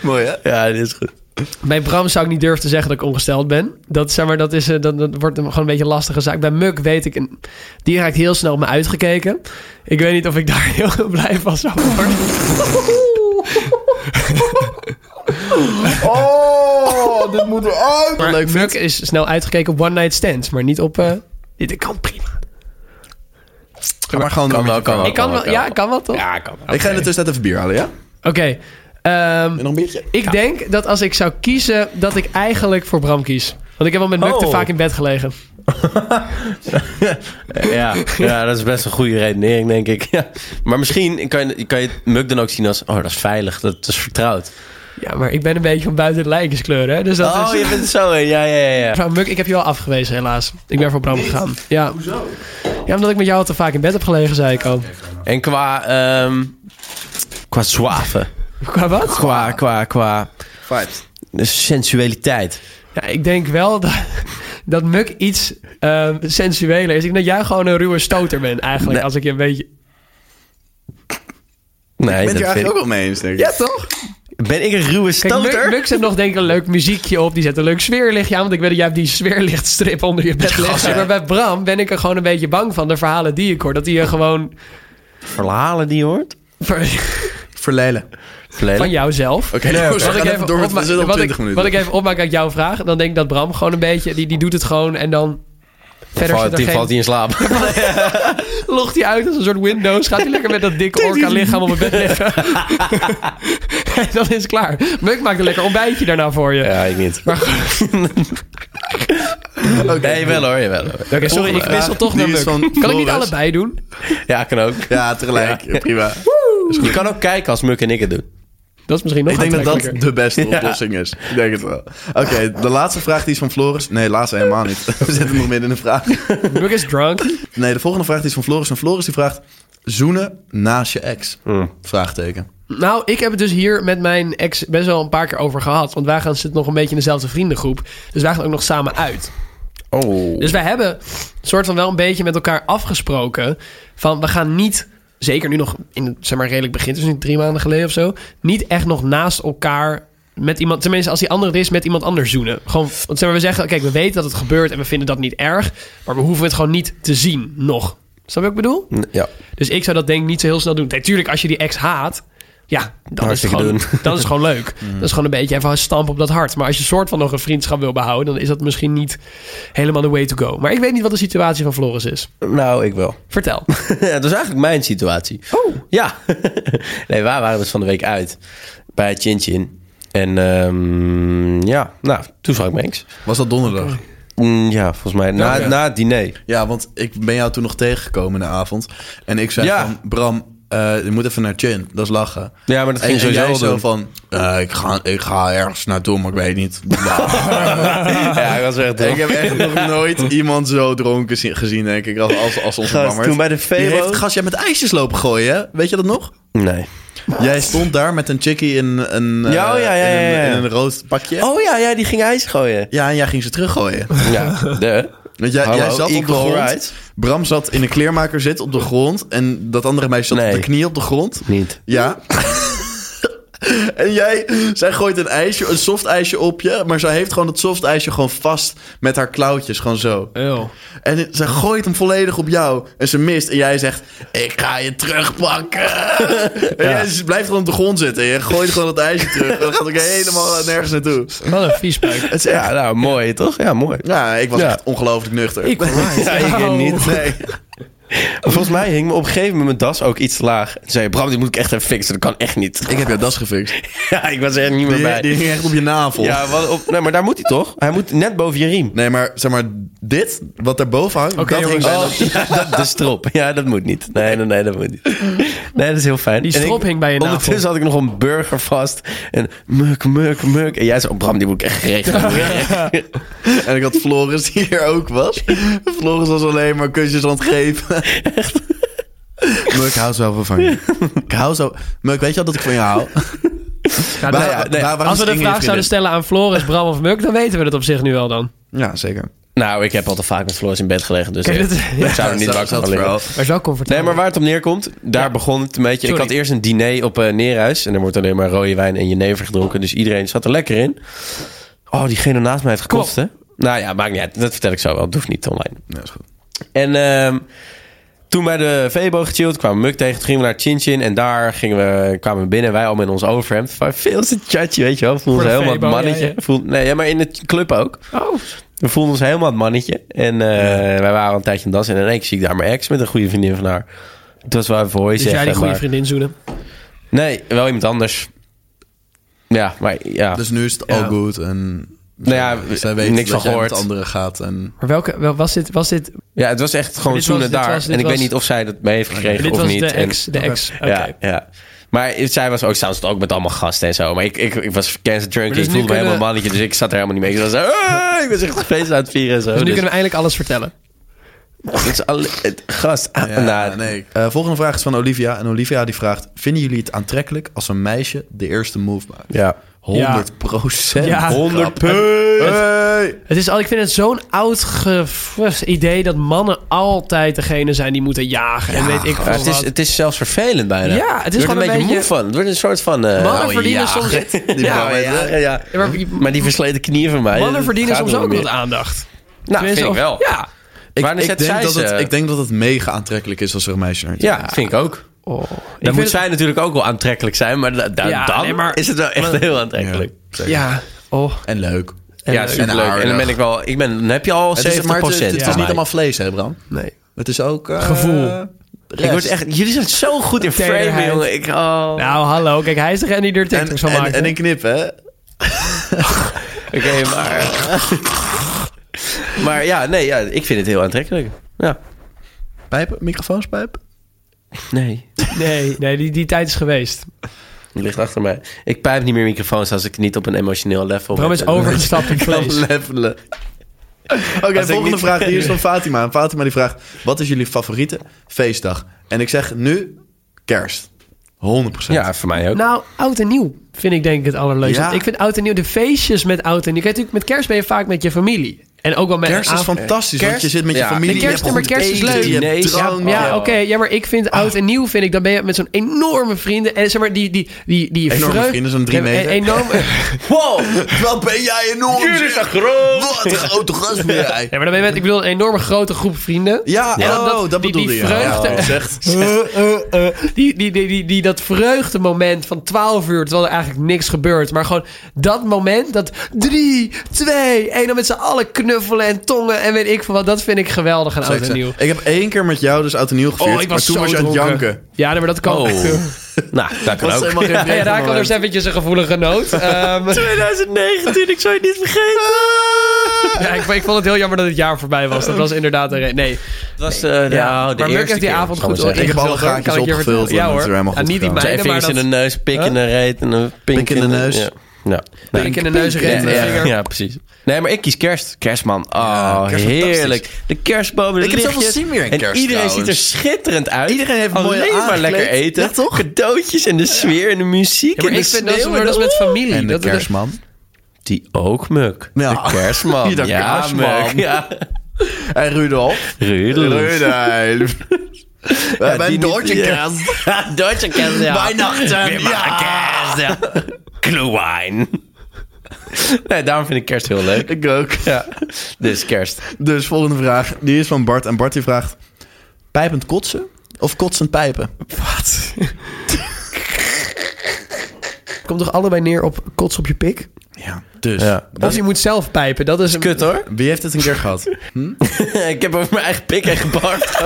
Speaker 6: Mooi, hè?
Speaker 8: Ja, dit is goed.
Speaker 7: Bij Bram zou ik niet durven te zeggen dat ik ongesteld ben. Dat, zeg maar, dat, is, eh, dat, dat wordt hem gewoon een beetje een lastige zaak. Bij Muk weet ik, een- die raakt heel snel op me uitgekeken. Ik weet niet of ik daar heel blij van zou worden.
Speaker 6: Oh, dit moet eruit.
Speaker 7: Maar Muk is snel uitgekeken op one night stands, maar niet op... eh, dit kan prima.
Speaker 6: Ga maar gewoon door met je
Speaker 8: kan wel.
Speaker 6: verhaal.
Speaker 7: ik kan wel, ja, ik kan wel toch?
Speaker 8: Ja, kan.
Speaker 6: Ik ga in de tussentijd even bier halen, ja?
Speaker 7: Oké. ehm,
Speaker 6: En nog een biertje?
Speaker 7: ik denk dat als ik zou kiezen, dat ik eigenlijk voor Bram kies. Want ik heb al met Muk te
Speaker 8: Oh.
Speaker 7: vaak in bed gelegen.
Speaker 8: Ja, ja, dat is best een goede redenering, denk ik. Ja. Maar misschien kan je, kan je het muk dan ook zien als... Oh, dat is veilig, dat is vertrouwd.
Speaker 7: Ja, maar ik ben een beetje van buiten de lijkenskleur, hè. Dus dat
Speaker 8: oh,
Speaker 7: is...
Speaker 8: je bent zo, hè? ja, ja, ja. ja.
Speaker 7: Mevrouw Muk, ik heb je al afgewezen, helaas. Ik ben voor Bram gegaan. Ja. Hoezo? Ja, omdat ik met jou al te vaak in bed heb gelegen, zei ik al.
Speaker 8: En qua... ehm, qua zwaven.
Speaker 7: Qua wat?
Speaker 8: Qua, qua, qua
Speaker 6: Vibes.
Speaker 8: sensualiteit.
Speaker 7: Ja, ik denk wel dat, dat Muk iets eh, sensueler is. Ik denk dat jij gewoon een ruwe stoter bent, eigenlijk.
Speaker 8: Nee.
Speaker 7: Als ik je een beetje...
Speaker 8: Nee,
Speaker 6: Ik ben het
Speaker 8: dat
Speaker 6: hier
Speaker 8: vind
Speaker 6: eigenlijk
Speaker 8: ik-
Speaker 6: ook wel mee eens, denk ik.
Speaker 7: Ja, toch?
Speaker 8: Ben ik een ruwe
Speaker 7: Kijk, Muk,
Speaker 8: stoter?
Speaker 7: Muk zet nog denk ik een leuk muziekje op. Die zet een leuk sfeerlichtje aan. Want ik weet dat jij hebt die sfeerlichtstrip onder je bed liggen. Maar bij Bram ben ik er gewoon een beetje bang van. De verhalen die ik hoor. Dat hij je gewoon...
Speaker 8: Verhalen die je hoort?
Speaker 7: ver-
Speaker 6: Verleiden.
Speaker 7: Van jouzelf.
Speaker 6: Oké, nou, we
Speaker 7: Wat ik,
Speaker 6: gaan even
Speaker 7: even
Speaker 6: door met
Speaker 7: opma-
Speaker 6: we zitten op
Speaker 7: wat, ik,
Speaker 6: 20 minuten.
Speaker 7: wat ik even opmaak uit jouw vraag, dan denk ik dat Bram gewoon een beetje, die, die doet het gewoon en dan verder
Speaker 8: Valt,
Speaker 7: zit er
Speaker 8: die,
Speaker 7: geen-
Speaker 8: valt die in slaap?
Speaker 7: logt hij uit als een soort Windows, gaat hij lekker met dat dikke orka lichaam op mijn bed liggen. en dan is het klaar. Muk maakt een lekker ontbijtje daarna voor je.
Speaker 8: Ja, ik niet.
Speaker 7: Maar
Speaker 8: Nee, wel hoor, jawel hoor.
Speaker 7: Oké, sorry, ik wissel toch
Speaker 6: die
Speaker 7: naar
Speaker 6: is
Speaker 7: Muk.
Speaker 6: van
Speaker 7: Kan ik niet
Speaker 6: Floris.
Speaker 7: allebei doen?
Speaker 8: Ja, kan ook.
Speaker 6: Ja, tegelijk. Ja, Prima.
Speaker 8: Je kan ook kijken als Muk en ik het doen.
Speaker 7: Dat is misschien nog
Speaker 6: Ik denk dat dat
Speaker 7: aantrekkelijker.
Speaker 6: de beste oplossing is. Ik denk het wel. Oké, de laatste vraag die is van Floris. Nee, laatste helemaal niet. We zitten nog midden in de vraag.
Speaker 7: Muk is drunk.
Speaker 6: Nee, de volgende vraag die is van Floris. En Floris die vraagt... Zoenen naast je ex?
Speaker 8: Hmm.
Speaker 6: Vraagteken.
Speaker 7: Nou, ik heb het dus hier met mijn ex best wel een paar keer over gehad. Want wij gaan zitten nog een beetje in dezelfde vriendengroep. Dus wij gaan ook nog samen uit.
Speaker 6: Oh.
Speaker 7: Dus wij hebben soort van wel een beetje met elkaar afgesproken. Van we gaan niet, zeker nu nog in het zeg maar, redelijk begin, dus nu drie maanden geleden of zo. Niet echt nog naast elkaar met iemand, tenminste als die ander er is, met iemand anders zoenen. Gewoon, want zeg maar, we zeggen, kijk, we weten dat het gebeurt en we vinden dat niet erg. Maar we hoeven het gewoon niet te zien, nog. Snap je wat ik bedoel?
Speaker 8: Ja.
Speaker 7: Dus ik zou dat denk ik niet zo heel snel doen. Natuurlijk, als je die ex haat, ja, dan is, het
Speaker 8: Hartstikke
Speaker 7: gewoon,
Speaker 8: doen. Mhm.
Speaker 7: dan is het gewoon leuk. Dat is gewoon een beetje even een stamp op dat hart. Maar als je soort van nog een vriendschap wil behouden, dan is dat misschien niet helemaal de way to go. Maar ik weet niet wat de situatie van Floris is.
Speaker 8: Nou, ik wel.
Speaker 7: Vertel.
Speaker 8: Ja, dat is eigenlijk mijn situatie.
Speaker 7: Oh.
Speaker 8: Ja. nee, waar waren we dus van de week uit? Bij Chin Chin. En ehm, ja, nou, toen zag ik Mengs.
Speaker 6: Was dat donderdag?
Speaker 8: Mm, ja, volgens mij na,
Speaker 6: Ja.
Speaker 8: na het diner.
Speaker 6: Ja, want ik ben jou toen nog tegengekomen in de avond. En ik zei
Speaker 8: Ja.
Speaker 6: van, Bram, eh, je moet even naar Chin. Dat is lachen.
Speaker 8: Ja, maar dat
Speaker 6: En,
Speaker 8: ging
Speaker 6: en
Speaker 8: sowieso
Speaker 6: jij
Speaker 8: wel
Speaker 6: zo
Speaker 8: doen.
Speaker 6: van, eh, ik, ga, ik ga ergens naartoe, maar ik weet niet.
Speaker 8: Ja, ik was echt
Speaker 6: ik heb echt nog nooit iemand zo dronken zi- gezien, denk ik, als, als, als onze
Speaker 8: Gast,
Speaker 6: Bammert.
Speaker 8: toen bij de
Speaker 6: Die
Speaker 8: Febo.
Speaker 6: heeft, gast, jij met ijsjes lopen gooien, hè? Weet je dat nog?
Speaker 8: Nee.
Speaker 6: Jij stond daar met een chickie in een, eh,
Speaker 8: Ja, oh, ja, ja,
Speaker 6: in een,
Speaker 8: ja, ja.
Speaker 6: in een rood pakje.
Speaker 8: Oh ja, ja, die ging ijs gooien.
Speaker 6: Ja, en jij ging ze teruggooien.
Speaker 8: Ja, de.
Speaker 6: Want jij,
Speaker 8: Hallo,
Speaker 6: jij zat op de
Speaker 8: equal
Speaker 6: grond.
Speaker 8: rights.
Speaker 6: Bram zat in een kleermaker zit op de grond. En dat andere meisje zat
Speaker 8: Nee.
Speaker 6: op de knie op de grond.
Speaker 8: Niet.
Speaker 6: Ja. en jij, zij gooit een ijsje, een soft ijsje op je. Maar zij heeft gewoon dat soft ijsje gewoon vast met haar klauwtjes. Gewoon zo. En zij gooit hem volledig op jou. En ze mist. En jij zegt, ik ga je terugpakken. en jij ze blijft gewoon op de grond zitten. En je gooit gewoon dat ijsje terug. En dat gaat ook helemaal nergens naartoe.
Speaker 7: Wat een viespeuk.
Speaker 6: Het is echt-
Speaker 8: Ja, nou, mooi toch? Ja, mooi.
Speaker 6: Ja, ik was
Speaker 8: Ja.
Speaker 6: echt ongelooflijk nuchter.
Speaker 7: Ik
Speaker 8: Ja, ik
Speaker 7: Oh.
Speaker 8: weet niet.
Speaker 6: Nee.
Speaker 8: Volgens mij hing me op een gegeven moment mijn das ook iets te laag. Toen zei je, Bram, die moet ik echt even fixen. Dat kan echt niet.
Speaker 6: Ik heb jouw das gefixt.
Speaker 8: Ja, ik was er echt niet meer bij.
Speaker 6: Die, die ging echt op je navel.
Speaker 8: Ja, wat op, nee, maar daar moet hij toch? Hij moet net boven je riem.
Speaker 6: Nee, maar zeg maar, dit, wat daarboven hangt,
Speaker 7: Oké,
Speaker 6: dat ging
Speaker 7: jongens.
Speaker 6: zijn.
Speaker 8: Oh, ja, dat, de strop. Ja, dat moet niet. Nee, nee, nee, dat moet niet. Nee, dat is heel fijn.
Speaker 7: Die
Speaker 8: En
Speaker 7: strop
Speaker 8: ik-
Speaker 7: hing bij je navel.
Speaker 8: Ondertussen had ik nog een burger vast. En muk, muk, muk. En jij zei, oh, Bram, die moet ik echt regelen.
Speaker 6: En ik had Floris die hier ook was. Floris was alleen maar kusjes aan het geven. Maar ik hou zo wel van je. Ik hou zo... Maar ik weet je wel dat ik van je hou?
Speaker 7: Ja,
Speaker 6: Waar-
Speaker 7: nou,
Speaker 6: waar- waar is
Speaker 7: als we de
Speaker 6: Inge je
Speaker 7: vraag zouden
Speaker 6: vriendin?
Speaker 7: stellen aan Floris, Bram of Muk, dan weten we dat op zich nu wel dan.
Speaker 6: Ja, zeker.
Speaker 8: Nou, ik heb al te vaak met Floris in bed gelegen, dus
Speaker 7: Kijk,
Speaker 8: ik
Speaker 7: dat- ja.
Speaker 8: zou er niet wakker van liggen.
Speaker 7: Maar zo comfortabel.
Speaker 8: Nee, maar waar het om neerkomt, daar begon het een beetje.
Speaker 7: Sorry.
Speaker 8: Ik had eerst een diner op eh Neerhuis. En er wordt alleen maar rode wijn en jenever gedronken. Dus iedereen zat er lekker in. Oh, diegene naast mij heeft gekost, hè? Nou ja, maakt niet uit. Dat vertel ik zo wel. Het hoeft niet online.
Speaker 6: Nee, is goed.
Speaker 8: En ehm, toen bij de Vebo gechilled, kwamen we Muk tegen. Toen gingen we naar Chin Chin. En daar gingen we, kwamen we binnen. Wij allemaal in ons overhemd. Van, Veel te chatje, weet je wel. Voelde
Speaker 7: Voor
Speaker 8: ons
Speaker 7: de
Speaker 8: helemaal het
Speaker 7: Febo, ja,
Speaker 8: mannetje.
Speaker 7: ja.
Speaker 8: Voel- nee, ja, maar in de club ook.
Speaker 7: Oh,
Speaker 8: We voelden ons helemaal het mannetje. En eh, wij waren al een tijdje aan het dansen. En in één keer zie ik daar mijn ex met een goede vriendin van haar. Dat was wel even hooi
Speaker 7: dus
Speaker 8: zeggen,
Speaker 7: jij die goede
Speaker 8: maar-
Speaker 7: vriendin zoenen.
Speaker 8: Nee, wel iemand anders. Ja, maar ja.
Speaker 6: Dus nu is het
Speaker 8: Ja.
Speaker 6: all good en...
Speaker 8: Nou ja,
Speaker 6: zij weten
Speaker 8: niks
Speaker 6: dat
Speaker 8: van
Speaker 6: jij met
Speaker 8: gehoord.
Speaker 6: anderen gaat en...
Speaker 7: Maar welke, wel, was, dit, was dit...
Speaker 8: ja, het was echt gewoon
Speaker 7: dit
Speaker 8: zoenen
Speaker 7: was- dit
Speaker 8: daar.
Speaker 7: was- dit
Speaker 8: en ik
Speaker 7: was- Oh
Speaker 8: weet niet of zij dat mee heeft gekregen
Speaker 7: Dit
Speaker 8: of
Speaker 7: was
Speaker 8: niet.
Speaker 7: de
Speaker 8: En-
Speaker 7: ex. De ex. Oké. Dus
Speaker 8: Ja, ja. Maar zij was ook, ze het ook met allemaal gasten en zo. Maar ik, ik, ik was verkend drunk.
Speaker 7: Maar dus
Speaker 8: ik voelde
Speaker 7: nu
Speaker 8: me helemaal
Speaker 7: kunnen-
Speaker 8: een mannetje. Dus ik zat er helemaal niet mee. Ik was zo, "Ah," ik was echt feest aan het vieren en zo.
Speaker 7: Dus nu
Speaker 8: Dus
Speaker 7: kunnen we eindelijk alles vertellen.
Speaker 8: het is alle, het- gast. ah,
Speaker 6: Ja,
Speaker 8: nou,
Speaker 6: nee. Eh, volgende vraag is van Olivia. En Olivia die vraagt... Vinden jullie het aantrekkelijk als een meisje de eerste move maakt?
Speaker 8: Ja.
Speaker 6: 100 procent.
Speaker 7: Ja.
Speaker 8: 100
Speaker 6: Grap. Hey!
Speaker 7: Het is al, ik vind het zo'n oud ge- idee dat mannen altijd degene zijn die moeten jagen. en weet ik veel
Speaker 8: Ja, Ah, het, is,
Speaker 7: wat.
Speaker 8: het is zelfs vervelend bijna.
Speaker 7: Ja, het is
Speaker 8: Er wordt
Speaker 7: gewoon
Speaker 8: een
Speaker 7: een
Speaker 8: beetje moe
Speaker 7: beetje-
Speaker 8: van. Het wordt een soort van... eh,
Speaker 7: Mannen
Speaker 6: Oh,
Speaker 8: oude
Speaker 7: verdienen
Speaker 8: jager.
Speaker 7: soms echt-
Speaker 8: Die
Speaker 7: Ja,
Speaker 8: oude
Speaker 7: ja.
Speaker 8: jager, ja.
Speaker 7: Ja, maar je-
Speaker 8: Maar die versleten knieën van mij...
Speaker 7: Mannen
Speaker 8: dat
Speaker 7: verdienen
Speaker 8: gaat
Speaker 7: soms
Speaker 8: er
Speaker 7: ook
Speaker 8: niet
Speaker 7: wat aandacht.
Speaker 8: Nou, vind ik
Speaker 7: Tenminste,
Speaker 8: wel.
Speaker 7: of- Ja.
Speaker 6: Ik,
Speaker 8: Wanneer
Speaker 6: ik
Speaker 8: zet
Speaker 6: denk
Speaker 8: zij
Speaker 6: dat
Speaker 8: ze?
Speaker 6: het, ik denk dat het mega aantrekkelijk is als er een meisje naar je
Speaker 8: Ja, vind ik ook.
Speaker 7: Oh.
Speaker 8: Dan moet zij natuurlijk ook wel aantrekkelijk zijn, maar da- da-
Speaker 7: Ja,
Speaker 8: dan
Speaker 7: nee, maar-
Speaker 8: is het wel echt heel aantrekkelijk.
Speaker 6: kijkt.
Speaker 7: Ja. Oh.
Speaker 6: En leuk.
Speaker 8: Ja,
Speaker 7: leuk.
Speaker 8: superleuk.
Speaker 6: En
Speaker 8: En, dan ben ik wel... Ik ben, dan heb je al 70%.
Speaker 6: Het is, maar het, het- het is
Speaker 7: Ja.
Speaker 6: niet
Speaker 8: van mij.
Speaker 6: allemaal vlees, hè, Bram?
Speaker 7: Nee.
Speaker 6: Het is ook... eh,
Speaker 7: Gevoel.
Speaker 6: rest.
Speaker 8: Ik word echt, jullie zijn zo goed in
Speaker 7: Tederheid.
Speaker 8: frame, jongen. Ik, oh.
Speaker 7: Nou, hallo. Kijk, hij is degene die er
Speaker 6: En,
Speaker 7: TikToks van
Speaker 6: en-
Speaker 7: maakt.
Speaker 6: en een knip, hè?
Speaker 8: Oké, maar... maar ja, nee, ja, ik vind het heel aantrekkelijk. Ja,
Speaker 6: Pijpen? Microfoonspijp?
Speaker 8: nee.
Speaker 7: Nee, nee die, die tijd is geweest.
Speaker 8: Oh, Het ligt achter mij. Ik pijp niet meer microfoons als ik niet op een emotioneel level
Speaker 7: Bram
Speaker 8: ben.
Speaker 7: is overgestapt in vlees.
Speaker 6: Levelen. Oké, volgende
Speaker 8: niet-
Speaker 6: vraag. Hier is van Fatima. En Fatima die vraagt... Wat is jullie favoriete feestdag? En ik zeg nu... Kerst. 100%.
Speaker 8: Ja, voor mij ook.
Speaker 7: Nou, oud en nieuw vind ik denk ik het allerleukste.
Speaker 6: Ja.
Speaker 7: Ik vind oud en nieuw, de feestjes met oud en nieuw. Kijk, natuurlijk, met kerst ben je vaak met je familie. En ook wel met
Speaker 6: Kerst is
Speaker 7: avond-
Speaker 6: fantastisch, want
Speaker 8: Kerst-
Speaker 6: je zit met je
Speaker 8: ja.
Speaker 6: familie.
Speaker 7: De
Speaker 6: je
Speaker 7: kerst-
Speaker 6: hebt
Speaker 7: maar
Speaker 6: goed
Speaker 7: kerst is
Speaker 6: eten,
Speaker 7: leuk.
Speaker 6: je hebt
Speaker 8: Nee, ja,
Speaker 6: drank.
Speaker 7: Ja,
Speaker 8: Oh.
Speaker 7: oké. Ja, maar ik vind oud en nieuw, vind ik, dan ben je met zo'n enorme vrienden. En zeg maar, die, die, die, die
Speaker 6: Enorme
Speaker 7: vreugde-
Speaker 6: vrienden, zo'n drie
Speaker 7: en- en-
Speaker 6: meter.
Speaker 7: Enorm, ja,
Speaker 8: Wow!
Speaker 6: Wat ben jij enorm? zeg.
Speaker 8: groot!
Speaker 6: Wat een grote gast ben jij.
Speaker 7: maar dan ben je met, ik bedoel, een enorme grote groep vrienden.
Speaker 6: Ja,
Speaker 7: Ja,
Speaker 6: oh,
Speaker 7: dat-
Speaker 6: dat,
Speaker 7: die- die
Speaker 6: bedoelde je.
Speaker 7: vreugde-
Speaker 6: Ja, oh, zegt,
Speaker 7: eh, Die, die, die, die, die dat vreugdemoment van 12 uur, terwijl er eigenlijk niks gebeurt. Maar gewoon dat moment, dat 3, 2, 1, dan met z'n allen knuffelen en tongen en weet ik veel wat. Dat vind ik geweldig aan oud
Speaker 6: zegt
Speaker 7: en
Speaker 6: ze.
Speaker 7: nieuw.
Speaker 6: Ik heb één keer met jou dus oud en nieuw gevierd.
Speaker 7: Oh, ik was
Speaker 6: maar toen
Speaker 7: zo
Speaker 6: was je aan het
Speaker 7: dronken.
Speaker 6: janken.
Speaker 7: Ja, nee, maar dat kan.
Speaker 8: Oh. nou, dat kan
Speaker 6: Dat
Speaker 8: ook.
Speaker 6: is helemaal geen
Speaker 7: Ja, ja, daar
Speaker 6: vreugdemoment.
Speaker 7: kan dus eventjes een gevoelige noot. Ehm,
Speaker 8: 2019, ik zou je niet vergeten. Ah!
Speaker 7: ja, ik, ik vond het heel jammer dat het jaar voorbij was. Dat was inderdaad een reden. Nee.
Speaker 8: Het was eh, de,
Speaker 7: Ja,
Speaker 8: de
Speaker 7: maar Muk
Speaker 8: eerste
Speaker 7: heeft die
Speaker 8: keer,
Speaker 7: avond
Speaker 8: zal ik
Speaker 7: goed
Speaker 8: maar zeggen.
Speaker 6: Ik heb alle
Speaker 7: Ingevuld, hoor.
Speaker 6: gaatjes
Speaker 7: Kan ik je
Speaker 6: opgevuld.
Speaker 7: vertellen? Ja,
Speaker 6: en het
Speaker 7: hoor.
Speaker 6: is weer helemaal
Speaker 7: En
Speaker 6: goed
Speaker 7: niet die
Speaker 6: gekomen.
Speaker 7: mij.
Speaker 8: Twee
Speaker 7: Bijna, maar
Speaker 8: vingers in de
Speaker 7: dat-
Speaker 8: neus, pik in de reet en een pink,
Speaker 6: Pink in de neus.
Speaker 8: Ja. Ja. Nou,
Speaker 7: Pink in de neus, reet in de
Speaker 8: ja, ja,
Speaker 7: vinger.
Speaker 8: ja, precies. Nee, maar ik kies kerst. Kerstman. Oh,
Speaker 6: kerst is
Speaker 8: heerlijk. De kerstboom, de
Speaker 6: Ik heb zoveel
Speaker 8: lichtjes.
Speaker 6: zin meer in
Speaker 8: En
Speaker 6: kerst,
Speaker 8: iedereen ziet er
Speaker 6: trouwens.
Speaker 8: schitterend uit.
Speaker 6: Iedereen heeft een mooie
Speaker 8: Alleen maar
Speaker 6: aangekleed.
Speaker 8: lekker eten.
Speaker 6: Ja, toch?
Speaker 8: Cadeautjes en de sfeer en de
Speaker 7: Ja,
Speaker 8: muziek
Speaker 7: maar
Speaker 8: en de
Speaker 7: ik vind dat, is-
Speaker 8: sneeuw
Speaker 7: maar dat is met familie.
Speaker 6: En de
Speaker 7: dat, dus- dat-
Speaker 6: kerstman.
Speaker 8: Die ook, Muk.
Speaker 6: Ja.
Speaker 8: De kerstman.
Speaker 6: De
Speaker 8: ja,
Speaker 6: kerstman.
Speaker 8: Muk. Ja.
Speaker 6: En Rudolf.
Speaker 8: Rudolf.
Speaker 6: Rudolf. Wij
Speaker 8: die
Speaker 6: hebben
Speaker 8: niet-
Speaker 6: Deutsche
Speaker 8: ja.
Speaker 6: kerst.
Speaker 8: Deutsche kerst, ja.
Speaker 6: Weihnachten. Ja.
Speaker 8: Ja. Glühwein. Nee, daarom vind ik kerst heel leuk.
Speaker 6: Ik ook.
Speaker 8: Ja, dus kerst.
Speaker 6: Dus volgende vraag. Die is van Bart. En Bart die vraagt... Pijpend kotsen? Of kotsend pijpen?
Speaker 7: Wat? Komt toch allebei neer op kots op je pik?
Speaker 6: Ja. Dus.
Speaker 8: Ja.
Speaker 7: Of je moet zelf pijpen. Dat is een...
Speaker 8: Kut hoor.
Speaker 6: Wie heeft het een keer gehad?
Speaker 8: ik heb over mijn eigen pik en gebart.